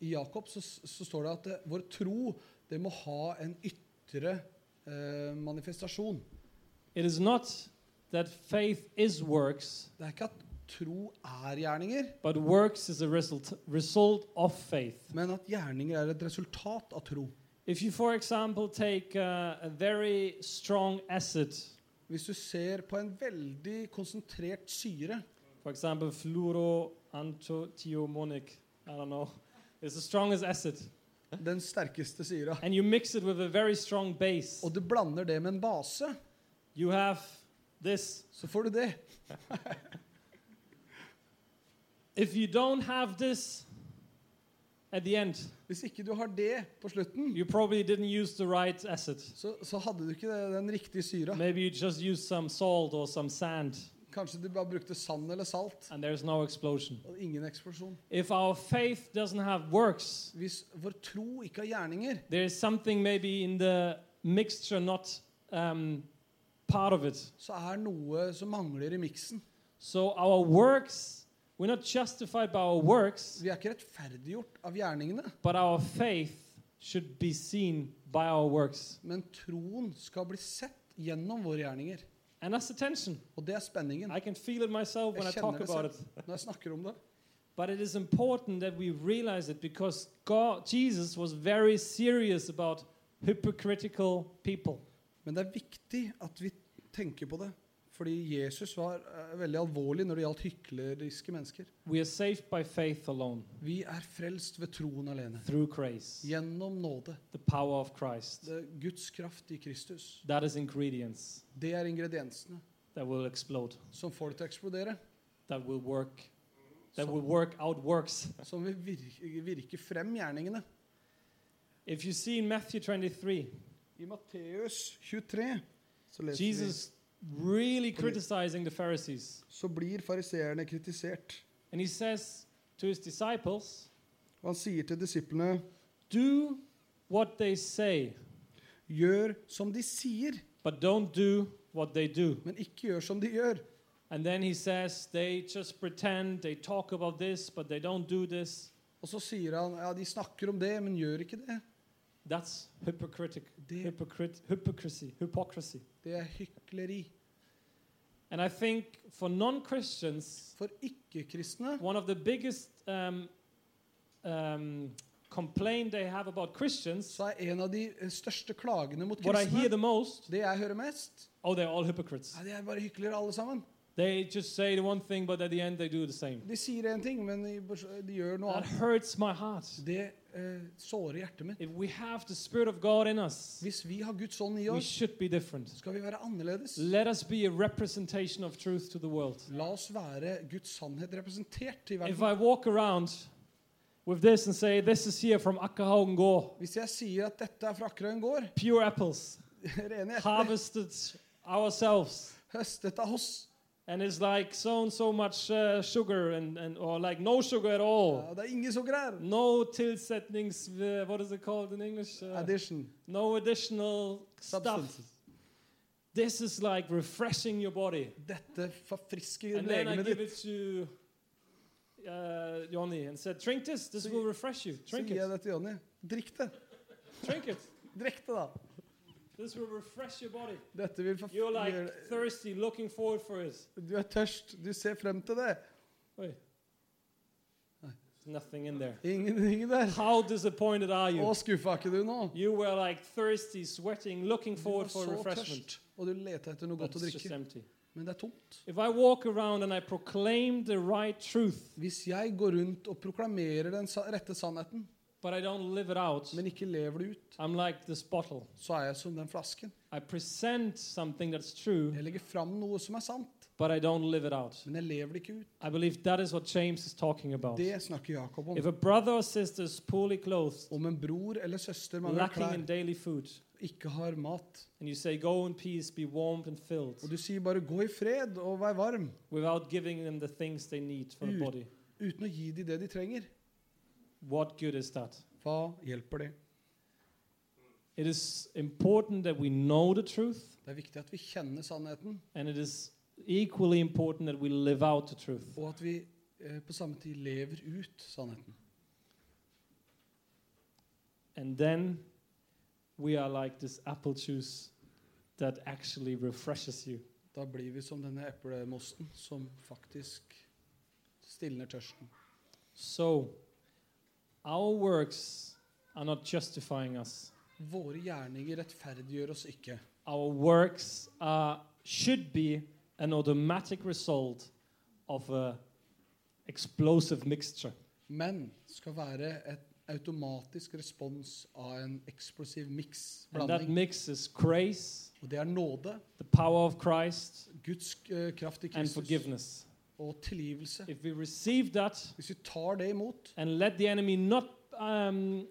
[SPEAKER 2] I Jakob så, så står det at eh, vår tro det må ha en ytre eh, manifestasjon.
[SPEAKER 1] It is not that faith is works,
[SPEAKER 2] Det er ikke at tro er gjerninger,
[SPEAKER 1] but works is a result result of faith.
[SPEAKER 2] men at gjerninger er et resultat av tro.
[SPEAKER 1] If you, for example, take uh, a very strong acid,
[SPEAKER 2] Hvis du ser på en veldig konsentrert syre
[SPEAKER 1] for example, fluoroantiomonic, I don't know, it's the strongest acid,
[SPEAKER 2] den sterkeste syra.
[SPEAKER 1] and you mix it with a very strong base,
[SPEAKER 2] Og du blander det med en base,
[SPEAKER 1] you have this.
[SPEAKER 2] så får du det.
[SPEAKER 1] If you don't have this at the end,
[SPEAKER 2] Hvis ikke du har det på slutten,
[SPEAKER 1] you probably didn't use the right acid.
[SPEAKER 2] så, så hadde du ikke det- den riktige syra.
[SPEAKER 1] Maybe you just used some salt or some sand,
[SPEAKER 2] Kanskje du bare brukte sand eller salt,
[SPEAKER 1] and there's no explosion.
[SPEAKER 2] og ingen eksplosjon.
[SPEAKER 1] If our faith doesn't have works,
[SPEAKER 2] Hvis vår tro ikke har gjerninger,
[SPEAKER 1] there is something maybe in the mixture not um, part of it.
[SPEAKER 2] så er noe som mangler i miksen.
[SPEAKER 1] So our works, we're not justified by our works,
[SPEAKER 2] Vi er ikke rettferdiggjort av gjerningene,
[SPEAKER 1] but our faith should be seen by our works.
[SPEAKER 2] men troen skal bli sett gjennom våre gjerninger.
[SPEAKER 1] And that's the tension.
[SPEAKER 2] Og det er spenningen
[SPEAKER 1] I can feel it myself when I
[SPEAKER 2] Jeg
[SPEAKER 1] talk
[SPEAKER 2] kjenner det
[SPEAKER 1] about it.
[SPEAKER 2] når jeg snakker om det.
[SPEAKER 1] But it is important that we realize it because God, Jesus was very serious about hypocritical people.
[SPEAKER 2] Men det er viktig at vi tenker på det. Fordi Jesus var eh, veldig alvorlig når det gjaldt hykleriske mennesker.
[SPEAKER 1] We are saved by faith alone,
[SPEAKER 2] Vi er frelst ved troen alene.
[SPEAKER 1] through grace,
[SPEAKER 2] Gjennom nåde.
[SPEAKER 1] the power of Christ.
[SPEAKER 2] Det er Guds kraft i Kristus.
[SPEAKER 1] That is ingredients
[SPEAKER 2] Det er ingrediensene
[SPEAKER 1] that will explode,
[SPEAKER 2] som får det til å eksplodere.
[SPEAKER 1] that will work, that will
[SPEAKER 2] Som,
[SPEAKER 1] work out works.
[SPEAKER 2] som vil virke, virke frem gjerningene.
[SPEAKER 1] If you see in Matthew 23,
[SPEAKER 2] I Matteus 23 så, leser
[SPEAKER 1] Jesus really
[SPEAKER 2] På nytt.
[SPEAKER 1] criticizing the Pharisees.
[SPEAKER 2] vi, så blir fariseerne kritisert.
[SPEAKER 1] And he says to his disciples,
[SPEAKER 2] Og han sier til disiplene,
[SPEAKER 1] Do what they say,
[SPEAKER 2] gjør som de sier,
[SPEAKER 1] but don't do what they do.
[SPEAKER 2] men ikke gjør som de gjør.
[SPEAKER 1] And then he says, They just pretend, they talk about this, but they don't do this.
[SPEAKER 2] Og så sier han, ja, de snakker om det, men gjør ikke det.
[SPEAKER 1] That's hypocritic,
[SPEAKER 2] Det,
[SPEAKER 1] hypocrit, hypocrisy, hypocrisy.
[SPEAKER 2] det er hykleri.
[SPEAKER 1] And I think for non Christians,
[SPEAKER 2] For ikke-kristne
[SPEAKER 1] one of the biggest um, um, complaint they have about Christians,
[SPEAKER 2] så er en av de eh, største klagene mot
[SPEAKER 1] what I hear
[SPEAKER 2] kristne
[SPEAKER 1] the most,
[SPEAKER 2] det jeg hører mest,
[SPEAKER 1] oh, they're all hypocrites.
[SPEAKER 2] ja, de er bare hyklere alle sammen.
[SPEAKER 1] They just say the one thing, but at the end they do the same.
[SPEAKER 2] De sier én ting, men de, bors- de gjør noe
[SPEAKER 1] That
[SPEAKER 2] annet.
[SPEAKER 1] hurts my heart.
[SPEAKER 2] Det eh, sårer hjertet mitt.
[SPEAKER 1] If we have the Spirit of God in us,
[SPEAKER 2] Hvis vi har Guds ånd i
[SPEAKER 1] we
[SPEAKER 2] oss,
[SPEAKER 1] should be different.
[SPEAKER 2] skal vi være annerledes.
[SPEAKER 1] Let us be a representation of truth to the world.
[SPEAKER 2] La oss være Guds sannhet representert
[SPEAKER 1] If
[SPEAKER 2] i verden.
[SPEAKER 1] I walk around with this and say, This is here from Akkahaugen Gård,
[SPEAKER 2] Hvis jeg sier at dette er fra Akkerøyen gård,
[SPEAKER 1] pure apples,
[SPEAKER 2] rene epler,
[SPEAKER 1] harvested ourselves,
[SPEAKER 2] høstet av oss
[SPEAKER 1] and it's like so and so much uh, sugar, and, and or like no sugar at all,
[SPEAKER 2] ja, Det er ingen sukker her!
[SPEAKER 1] no tilsettings, uh, what is it called in English? Uh,
[SPEAKER 2] Addition.
[SPEAKER 1] no additional stuff.
[SPEAKER 2] Substances.
[SPEAKER 1] This is like refreshing your body.
[SPEAKER 2] Dette forfrisker
[SPEAKER 1] And then I
[SPEAKER 2] legemet
[SPEAKER 1] give
[SPEAKER 2] ditt.
[SPEAKER 1] it to uh, Johnny and said, drink this, this will refresh you.
[SPEAKER 2] Så
[SPEAKER 1] Drink
[SPEAKER 2] gir jeg
[SPEAKER 1] it,
[SPEAKER 2] det til Jonny. Drikk det.
[SPEAKER 1] drink it.
[SPEAKER 2] Drikk det, da.
[SPEAKER 1] This will refresh your body.
[SPEAKER 2] Dette vil forf-
[SPEAKER 1] You're like
[SPEAKER 2] gjøre det-
[SPEAKER 1] thirsty, looking forward for it.
[SPEAKER 2] Du er tørst. Du ser frem til det.
[SPEAKER 1] Oi. Nothing in there.
[SPEAKER 2] Ingenting der.
[SPEAKER 1] How disappointed are
[SPEAKER 2] Å,
[SPEAKER 1] you?
[SPEAKER 2] skuffa ikke du nå?
[SPEAKER 1] You were like thirsty, sweating, looking
[SPEAKER 2] Du var
[SPEAKER 1] forward for
[SPEAKER 2] så
[SPEAKER 1] refreshment.
[SPEAKER 2] tørst, og du leta etter noe
[SPEAKER 1] That's
[SPEAKER 2] godt å
[SPEAKER 1] just
[SPEAKER 2] drikke.
[SPEAKER 1] empty.
[SPEAKER 2] Men det er tomt.
[SPEAKER 1] If I walk around and I proclaim the right truth,
[SPEAKER 2] Hvis jeg går rundt og proklamerer den sa- rette sannheten,
[SPEAKER 1] but I don't live it out,
[SPEAKER 2] men ikke lever det ut,
[SPEAKER 1] I'm like this bottle.
[SPEAKER 2] så er jeg som den flasken.
[SPEAKER 1] I present something that's true,
[SPEAKER 2] Jeg legger fram noe som er sant,
[SPEAKER 1] but I don't live it out.
[SPEAKER 2] men jeg lever det ikke ut.
[SPEAKER 1] I believe that is what James is talking about.
[SPEAKER 2] Det er snakker Jakob om.
[SPEAKER 1] If a brother or sister is poorly clothed,
[SPEAKER 2] Om en bror eller søster mangler
[SPEAKER 1] lacking in
[SPEAKER 2] klær,
[SPEAKER 1] daily food,
[SPEAKER 2] ikke har mat,
[SPEAKER 1] and you say, Go in peace, be warmed and filled,
[SPEAKER 2] og du sier bare 'gå i fred' og 'vær varm',
[SPEAKER 1] without giving them the things they need for the
[SPEAKER 2] Ut.
[SPEAKER 1] body,
[SPEAKER 2] uten å gi dem det de trenger,
[SPEAKER 1] what good is that?
[SPEAKER 2] hva hjelper det?
[SPEAKER 1] It is important that we know the truth,
[SPEAKER 2] Det er viktig at vi kjenner sannheten,
[SPEAKER 1] and it is equally important that we live out the truth.
[SPEAKER 2] og at vi eh, på samme tid lever ut sannheten.
[SPEAKER 1] And then we are like this apple juice that actually refreshes you.
[SPEAKER 2] Da blir vi som denne eplemosten som faktisk stilner tørsten.
[SPEAKER 1] So our works are not justifying us.
[SPEAKER 2] Våre gjerninger rettferdiggjør oss ikke.
[SPEAKER 1] Our works are, should be an automatic result of a explosive mixture.
[SPEAKER 2] men skal være et automatisk respons av en eksplosiv mix,
[SPEAKER 1] And that
[SPEAKER 2] blanding.
[SPEAKER 1] mix is grace,
[SPEAKER 2] Og det er nåde,
[SPEAKER 1] the power of Christ,
[SPEAKER 2] Guds eh, kraft i
[SPEAKER 1] and
[SPEAKER 2] Kristus
[SPEAKER 1] forgiveness.
[SPEAKER 2] og tilgivelse.
[SPEAKER 1] If we receive that
[SPEAKER 2] Hvis vi tar det imot
[SPEAKER 1] and let the enemy not um,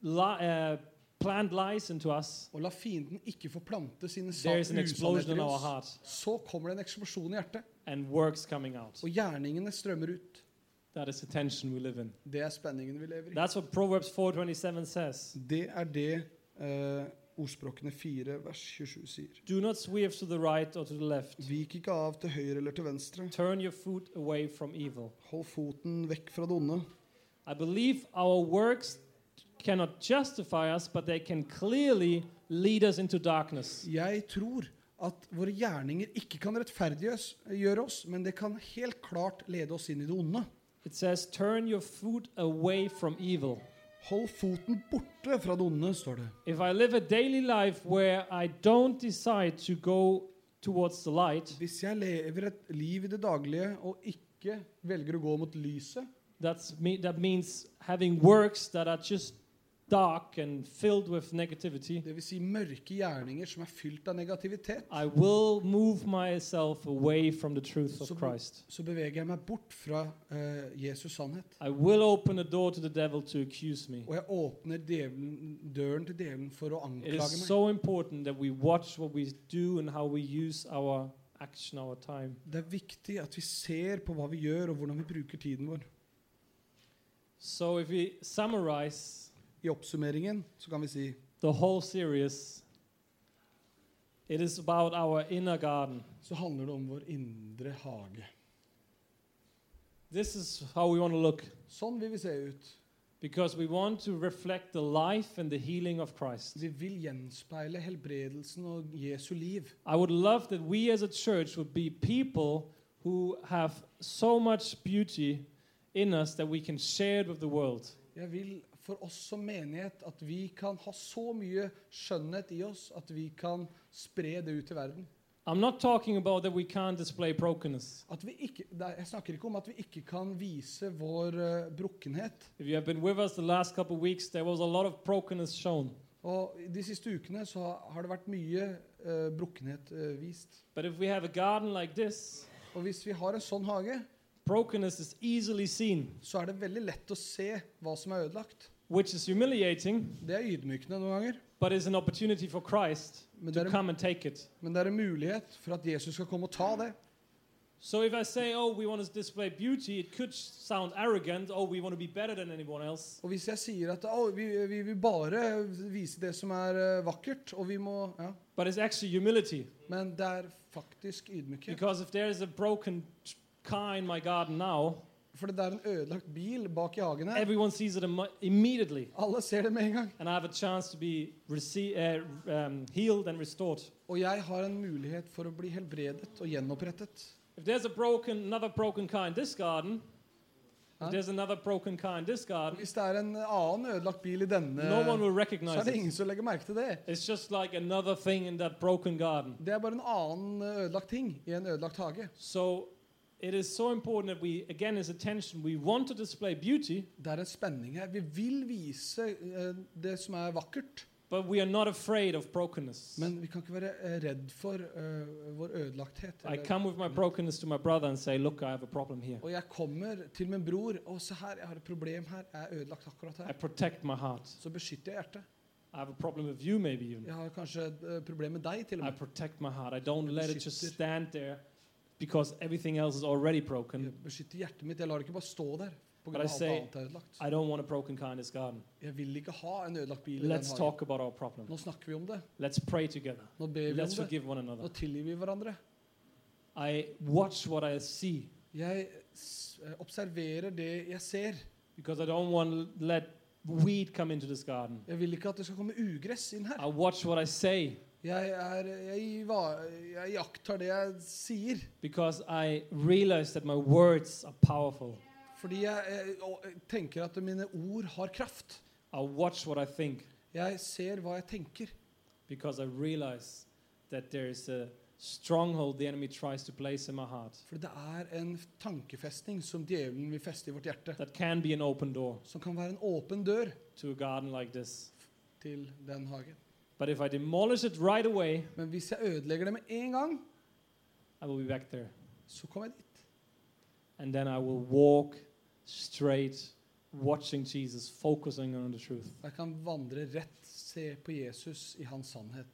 [SPEAKER 1] li- uh, plant lies into us,
[SPEAKER 2] og la fienden ikke få plante sine sa-
[SPEAKER 1] there is an explosion
[SPEAKER 2] usannheter
[SPEAKER 1] in
[SPEAKER 2] i
[SPEAKER 1] our
[SPEAKER 2] oss,
[SPEAKER 1] heart
[SPEAKER 2] så kommer det en eksplosjon i hjertet,
[SPEAKER 1] and works coming out.
[SPEAKER 2] og gjerningene strømmer ut.
[SPEAKER 1] That is the tension we live in.
[SPEAKER 2] Det er spenningen vi lever i.
[SPEAKER 1] That's what Proverbs 4:27 says.
[SPEAKER 2] Det er det eh, ordspråkene 4 vers 27 sier.
[SPEAKER 1] Do not swerve to the right or to the left.
[SPEAKER 2] Vik ikke av til høyre eller til venstre.
[SPEAKER 1] Turn your foot away from evil.
[SPEAKER 2] Hold foten vekk fra det onde.
[SPEAKER 1] I believe our works cannot justify us, but they can clearly lead us into darkness.
[SPEAKER 2] Jeg tror at våre gjerninger ikke kan rettferdiggjøre oss, men det kan helt klart lede oss inn i det onde.
[SPEAKER 1] It says, Turn your foot away from evil.
[SPEAKER 2] Hold foten borte fra det onde, står det.
[SPEAKER 1] If I live a daily life where I don't decide to go towards the light,
[SPEAKER 2] Hvis jeg lever et liv i det daglige og ikke velger å gå mot lyset,
[SPEAKER 1] that's me, that means having works that are just dark and filled with negativity.
[SPEAKER 2] dvs. Si mørke gjerninger som er fylt av negativitet,
[SPEAKER 1] I will move myself away from the truth
[SPEAKER 2] So
[SPEAKER 1] of
[SPEAKER 2] we-
[SPEAKER 1] Christ.
[SPEAKER 2] så beveger jeg meg bort fra eh, Jesus' sannhet.
[SPEAKER 1] I will open the door to the devil to accuse me.
[SPEAKER 2] Og jeg åpner djevelen, døren til djevelen for å
[SPEAKER 1] It
[SPEAKER 2] anklage
[SPEAKER 1] is
[SPEAKER 2] meg.
[SPEAKER 1] so important that we watch what we do and how we use our action, our time.
[SPEAKER 2] Det er viktig at vi ser på hva vi gjør, og hvordan vi bruker tiden vår.
[SPEAKER 1] So, if we summarize
[SPEAKER 2] I oppsummeringen så kan vi si
[SPEAKER 1] the whole series, it is about our inner garden.
[SPEAKER 2] så handler det om vår indre hage.
[SPEAKER 1] This is how we want to look
[SPEAKER 2] Sånn vil vi se ut.
[SPEAKER 1] because we want to reflect the life and the healing of Christ.
[SPEAKER 2] Vi vil gjenspeile helbredelsen og Jesu liv.
[SPEAKER 1] I would love that we as a church would be people who have so much beauty in us that we can share it with the world.
[SPEAKER 2] Jeg vil for oss som menighet at vi kan ha så mye skjønnhet i oss at vi kan spre det ut til verden.
[SPEAKER 1] I'm not talking about that we can't display brokenness.
[SPEAKER 2] At vi ikke, nei, jeg snakker ikke om at vi ikke kan vise vår eh, brukkenhet.
[SPEAKER 1] If you have been with us the last couple of weeks, there was a lot of brokenness shown.
[SPEAKER 2] Og De siste ukene så har det vært mye eh, brukkenhet eh, vist.
[SPEAKER 1] But if we have a garden like this,
[SPEAKER 2] Og Hvis vi har en sånn hage,
[SPEAKER 1] brokenness is easily seen,
[SPEAKER 2] så er det veldig lett å se hva som er ødelagt.
[SPEAKER 1] which is humiliating,
[SPEAKER 2] Det er ydmykende noen ganger.
[SPEAKER 1] but is an opportunity for Christ
[SPEAKER 2] Men det,
[SPEAKER 1] to
[SPEAKER 2] er,
[SPEAKER 1] come and take it.
[SPEAKER 2] men det er en mulighet for at Jesus skal komme og ta det.
[SPEAKER 1] So if I say, oh, we want to display beauty, it could sound arrogant, oh, we want to be better than anyone else.
[SPEAKER 2] Og hvis jeg sier at «Å, vi, vi vil bare vise det som er eh, vakkert, og vi må ja.
[SPEAKER 1] But it's actually humility.
[SPEAKER 2] Men det er faktisk ydmykhet.
[SPEAKER 1] Because if there is a broken t- car in my garden now,
[SPEAKER 2] For det er en ødelagt bil bak i hagen her.
[SPEAKER 1] everyone sees it immo- immediately.
[SPEAKER 2] Alle ser det med en gang.
[SPEAKER 1] And I have a chance to be rece- uh, um, healed and restored.
[SPEAKER 2] Og jeg har en mulighet for å bli helbredet og gjenopprettet.
[SPEAKER 1] If there's a broken, another broken car in this garden, If there's another broken car in this garden,
[SPEAKER 2] Hvis det er en annen ødelagt bil i denne,
[SPEAKER 1] no one will
[SPEAKER 2] så
[SPEAKER 1] recognize
[SPEAKER 2] er det
[SPEAKER 1] it.
[SPEAKER 2] ingen som legger merke til det.
[SPEAKER 1] It's just like another thing in that broken garden.
[SPEAKER 2] Det er bare en annen eh, ødelagt ting i en ødelagt hage.
[SPEAKER 1] So it is so important that we, again, is attention. We want to display beauty,
[SPEAKER 2] Det er en spenning her. Vi vil vise eh, det som er vakkert,
[SPEAKER 1] but we are not afraid of brokenness.
[SPEAKER 2] men vi kan ikke være eh, redd for eh, vår ødelagthet.
[SPEAKER 1] I
[SPEAKER 2] eller-
[SPEAKER 1] come with my brokenness to my brother and say, Look, I have a problem here.
[SPEAKER 2] Og jeg kommer til min bror og se her, jeg har et problem her. Jeg er ødelagt akkurat
[SPEAKER 1] I
[SPEAKER 2] her.
[SPEAKER 1] protect my heart.
[SPEAKER 2] Så beskytter jeg hjertet.
[SPEAKER 1] I have a problem with you, maybe even.
[SPEAKER 2] Jeg har kanskje et eh, problem med deg, til og
[SPEAKER 1] I
[SPEAKER 2] med.
[SPEAKER 1] protect my heart. I don't
[SPEAKER 2] Jeg
[SPEAKER 1] let it just
[SPEAKER 2] beskytter.
[SPEAKER 1] stand there because everything else is already broken.
[SPEAKER 2] Jeg beskytter hjertet mitt. Jeg lar det ikke bare stå der. På
[SPEAKER 1] But I
[SPEAKER 2] grunn av alt
[SPEAKER 1] say-
[SPEAKER 2] annet er ødelagt.
[SPEAKER 1] I don't want a broken car in this garden.
[SPEAKER 2] Jeg vil ikke ha en ødelagt bil. i den
[SPEAKER 1] Let's
[SPEAKER 2] hagen.
[SPEAKER 1] talk about our problem.
[SPEAKER 2] Nå snakker vi om det.
[SPEAKER 1] Let's pray together.
[SPEAKER 2] Nå ber vi
[SPEAKER 1] Let's
[SPEAKER 2] om det.
[SPEAKER 1] forgive one another.
[SPEAKER 2] Nå tilgir vi hverandre.
[SPEAKER 1] I watch what I see
[SPEAKER 2] Jeg s- eh, observerer det jeg ser.
[SPEAKER 1] because I don't want to let weed come into this garden.
[SPEAKER 2] Jeg vil ikke at det skal komme ugress inn her.
[SPEAKER 1] I watch what I say
[SPEAKER 2] Jeg, er, jeg, iva- jeg iakttar det jeg sier.
[SPEAKER 1] because I realize that my words are powerful.
[SPEAKER 2] Fordi jeg, eh, og- eh, tenker at mine ord har kraft.
[SPEAKER 1] I watch what I think
[SPEAKER 2] Jeg ser hva jeg tenker.
[SPEAKER 1] because I realize that there is a stronghold the enemy tries to place in my heart
[SPEAKER 2] For det er en tankefestning som djevelen vil feste i vårt hjerte.
[SPEAKER 1] that can be an open door
[SPEAKER 2] Som kan være en åpen dør
[SPEAKER 1] to a garden like this.
[SPEAKER 2] til den hagen.
[SPEAKER 1] But if I demolish it right away,
[SPEAKER 2] Men hvis jeg ødelegger det med en gang,
[SPEAKER 1] I will be back there.
[SPEAKER 2] så kommer jeg dit.
[SPEAKER 1] And then I will walk straight, watching Jesus, focusing on the truth.
[SPEAKER 2] Jeg kan vandre rett, se på Jesus i hans sannhet.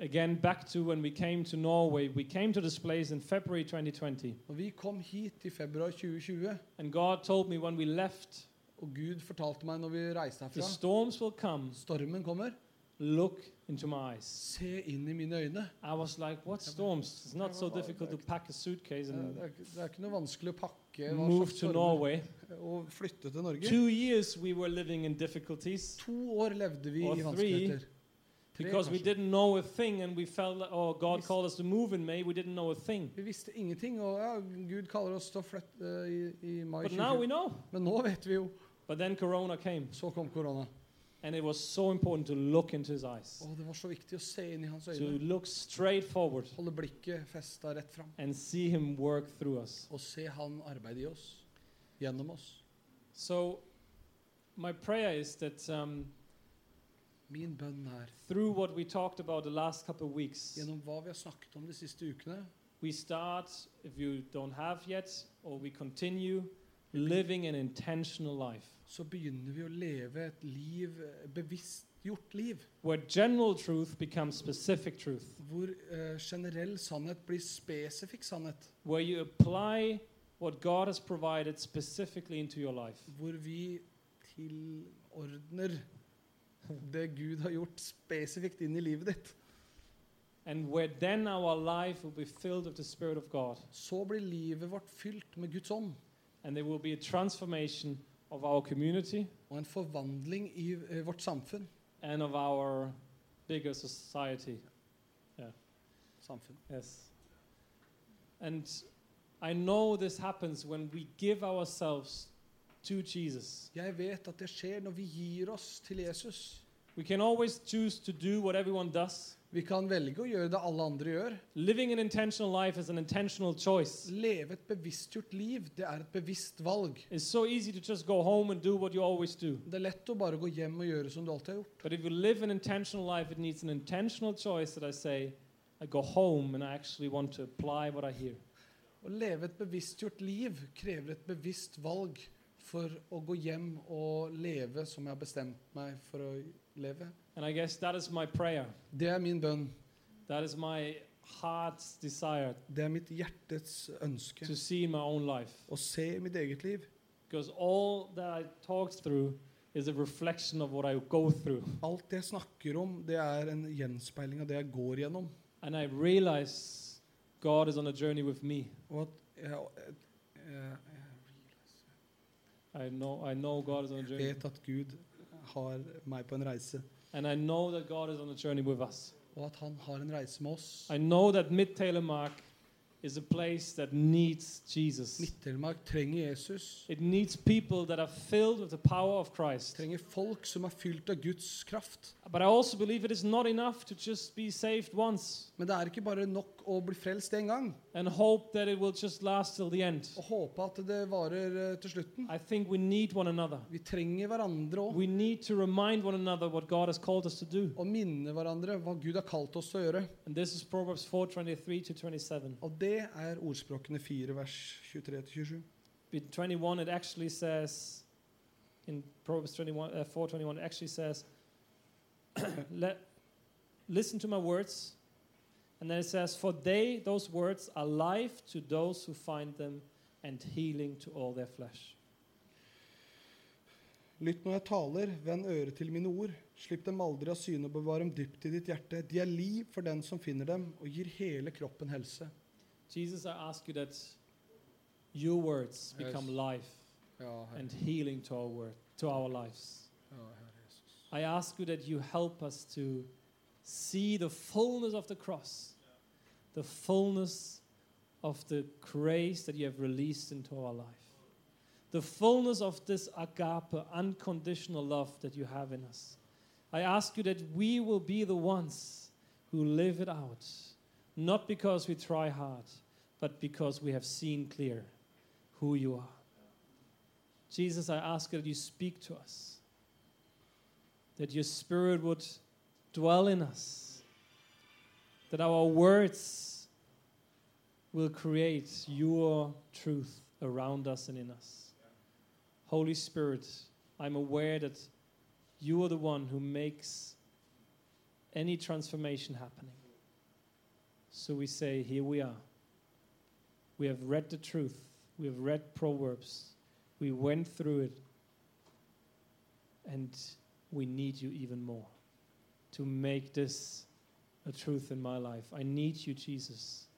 [SPEAKER 1] Again, back to when we came to Norway, we came to this place in February 2020.
[SPEAKER 2] Når vi kom hit i februar 2020,
[SPEAKER 1] And God told me when we left,
[SPEAKER 2] og Gud fortalte meg når vi reiste
[SPEAKER 1] the
[SPEAKER 2] herfra
[SPEAKER 1] storms will come.
[SPEAKER 2] Stormen kommer.
[SPEAKER 1] Look into my eyes.
[SPEAKER 2] Se inn i mine øyne.
[SPEAKER 1] I was like, what storms? It's not so difficult to pack a suitcase
[SPEAKER 2] Det
[SPEAKER 1] and
[SPEAKER 2] er, ikke- det er ikke noe vanskelig å pakke hva
[SPEAKER 1] Mm. move
[SPEAKER 2] slags
[SPEAKER 1] to
[SPEAKER 2] stormer
[SPEAKER 1] Norway.
[SPEAKER 2] og flytte til Norge.
[SPEAKER 1] Two years we were living in difficulties
[SPEAKER 2] To år levde vi
[SPEAKER 1] Or
[SPEAKER 2] i
[SPEAKER 1] three,
[SPEAKER 2] vanskeligheter. Tre,
[SPEAKER 1] because we
[SPEAKER 2] kanskje.
[SPEAKER 1] didn't know a thing and we felt, like, oh, God
[SPEAKER 2] Yes.
[SPEAKER 1] called us to move in May. We didn't know a thing.
[SPEAKER 2] Vi visste ingenting, og ja, Gud kaller oss til å flytte eh, i, i mai
[SPEAKER 1] But now we
[SPEAKER 2] 2020.
[SPEAKER 1] know.
[SPEAKER 2] Men nå vet vi jo.
[SPEAKER 1] But then Corona came,
[SPEAKER 2] Så kom korona.
[SPEAKER 1] and it was so important to look into his eyes,
[SPEAKER 2] Og det var så viktig å se inn i hans
[SPEAKER 1] to
[SPEAKER 2] øyne.
[SPEAKER 1] look straight forward
[SPEAKER 2] Holde blikket festa rett fram.
[SPEAKER 1] and see him work through us.
[SPEAKER 2] Og se han arbeide i oss. Gjennom oss.
[SPEAKER 1] So, my prayer is that um,
[SPEAKER 2] Min bønn er
[SPEAKER 1] through what we talked about the last couple of weeks,
[SPEAKER 2] gjennom hva vi har snakket om de siste ukene,
[SPEAKER 1] we start, if you don't have yet, or we continue living an intentional life
[SPEAKER 2] så begynner vi å leve et liv, eh, bevisstgjort liv,
[SPEAKER 1] where general truth becomes specific truth,
[SPEAKER 2] hvor eh, generell sannhet blir spesifikk sannhet.
[SPEAKER 1] where you apply what God has provided specifically into your life.
[SPEAKER 2] Hvor vi tilordner det Gud har gjort spesifikt inn i livet ditt.
[SPEAKER 1] And where then our life will be filled with the Spirit of God.
[SPEAKER 2] Så blir livet vårt fylt med Guds ånd
[SPEAKER 1] and there will be a transformation of our community
[SPEAKER 2] og en forvandling i eh, vårt samfunn.
[SPEAKER 1] and of our bigger society.
[SPEAKER 2] samfunn.
[SPEAKER 1] Yes. And I know this happens when we give ourselves to Jesus.
[SPEAKER 2] Jeg vet at det skjer når vi gir oss til Jesus.
[SPEAKER 1] We can always choose to do what everyone does.
[SPEAKER 2] Vi kan velge å gjøre det alle andre gjør.
[SPEAKER 1] Living an intentional life is an intentional choice.
[SPEAKER 2] Leve et bevisstgjort liv, det er et bevisst valg.
[SPEAKER 1] It's so easy to just go home and do what you always do.
[SPEAKER 2] Det er lett å bare gå hjem og gjøre som du alltid har gjort.
[SPEAKER 1] But if you live an intentional life, it needs an intentional choice that I say, I go home and I actually want to apply what I hear.
[SPEAKER 2] Å leve et bevisstgjort liv krever et bevisst valg for å gå hjem og leve som jeg har bestemt meg for å leve.
[SPEAKER 1] And I guess that is my prayer.
[SPEAKER 2] Det er min bønn.
[SPEAKER 1] That is my heart's desire
[SPEAKER 2] Det er mitt hjertets ønske.
[SPEAKER 1] to see in my own life.
[SPEAKER 2] Å se mitt eget liv.
[SPEAKER 1] Because all that I talked through is a reflection of what I go through.
[SPEAKER 2] Alt jeg snakker om, det er en gjenspeiling av det jeg går gjennom.
[SPEAKER 1] And I realize God is on a journey with me.
[SPEAKER 2] Og at jeg, jeg,
[SPEAKER 1] I know, I know God is on a
[SPEAKER 2] jeg
[SPEAKER 1] journey.
[SPEAKER 2] vet at Gud har meg på en reise,
[SPEAKER 1] And I know that God is on a journey with us.
[SPEAKER 2] og at han har en reise med oss.
[SPEAKER 1] I know that Midtail and Mark is a place that needs Jesus.
[SPEAKER 2] Midtelemark trenger Jesus.
[SPEAKER 1] It needs people that are filled with the power of Christ.
[SPEAKER 2] Trenger folk som er fylt av Guds kraft.
[SPEAKER 1] But I also believe it is not enough to just be saved once
[SPEAKER 2] Men det er ikke bare nok å bli frelst én gang
[SPEAKER 1] and hope that it will just last till the end.
[SPEAKER 2] og håpe at det varer eh, til slutten.
[SPEAKER 1] I think we need one another.
[SPEAKER 2] Vi trenger hverandre òg.
[SPEAKER 1] We need to remind one another what God has called us to do.
[SPEAKER 2] Og minne hverandre hva Gud har kalt oss til å gjøre.
[SPEAKER 1] And this is Proverbs 4:23 to 27.
[SPEAKER 2] Og det er ordspråkene 4, vers 23-27.
[SPEAKER 1] In 21 it actually says in Proverbs 21 uh, 4:21 it actually says let listen to my words and then it says for they those words are life to those who find them and healing to all their flesh.
[SPEAKER 2] Lytt når jeg taler, vend øret til mine ord. Slipp dem aldri av syne og bevar dem dypt i ditt hjerte. De er liv for den som finner dem, og gir hele kroppen helse.
[SPEAKER 1] Jesus I ask you that your words
[SPEAKER 2] Yes.
[SPEAKER 1] become life
[SPEAKER 2] Ja,
[SPEAKER 1] and healing to our word, to our lives. I ask you that you help us to see the fullness of the cross, the fullness of the grace that you have released into our life, the fullness of this agape, unconditional love that you have in us. I ask you that we will be the ones who live it out, not because we try hard, but because we have seen clear who you are. Jesus, I ask that you speak to us that your spirit would dwell in us, that our words will create your truth around us and in us. Holy Spirit, I'm aware that you are the one who makes any transformation happening. So we say, Here we are. We have read the truth, we have read Proverbs, we went through it, and we need you even more to make this a truth in my life. I need you, Jesus.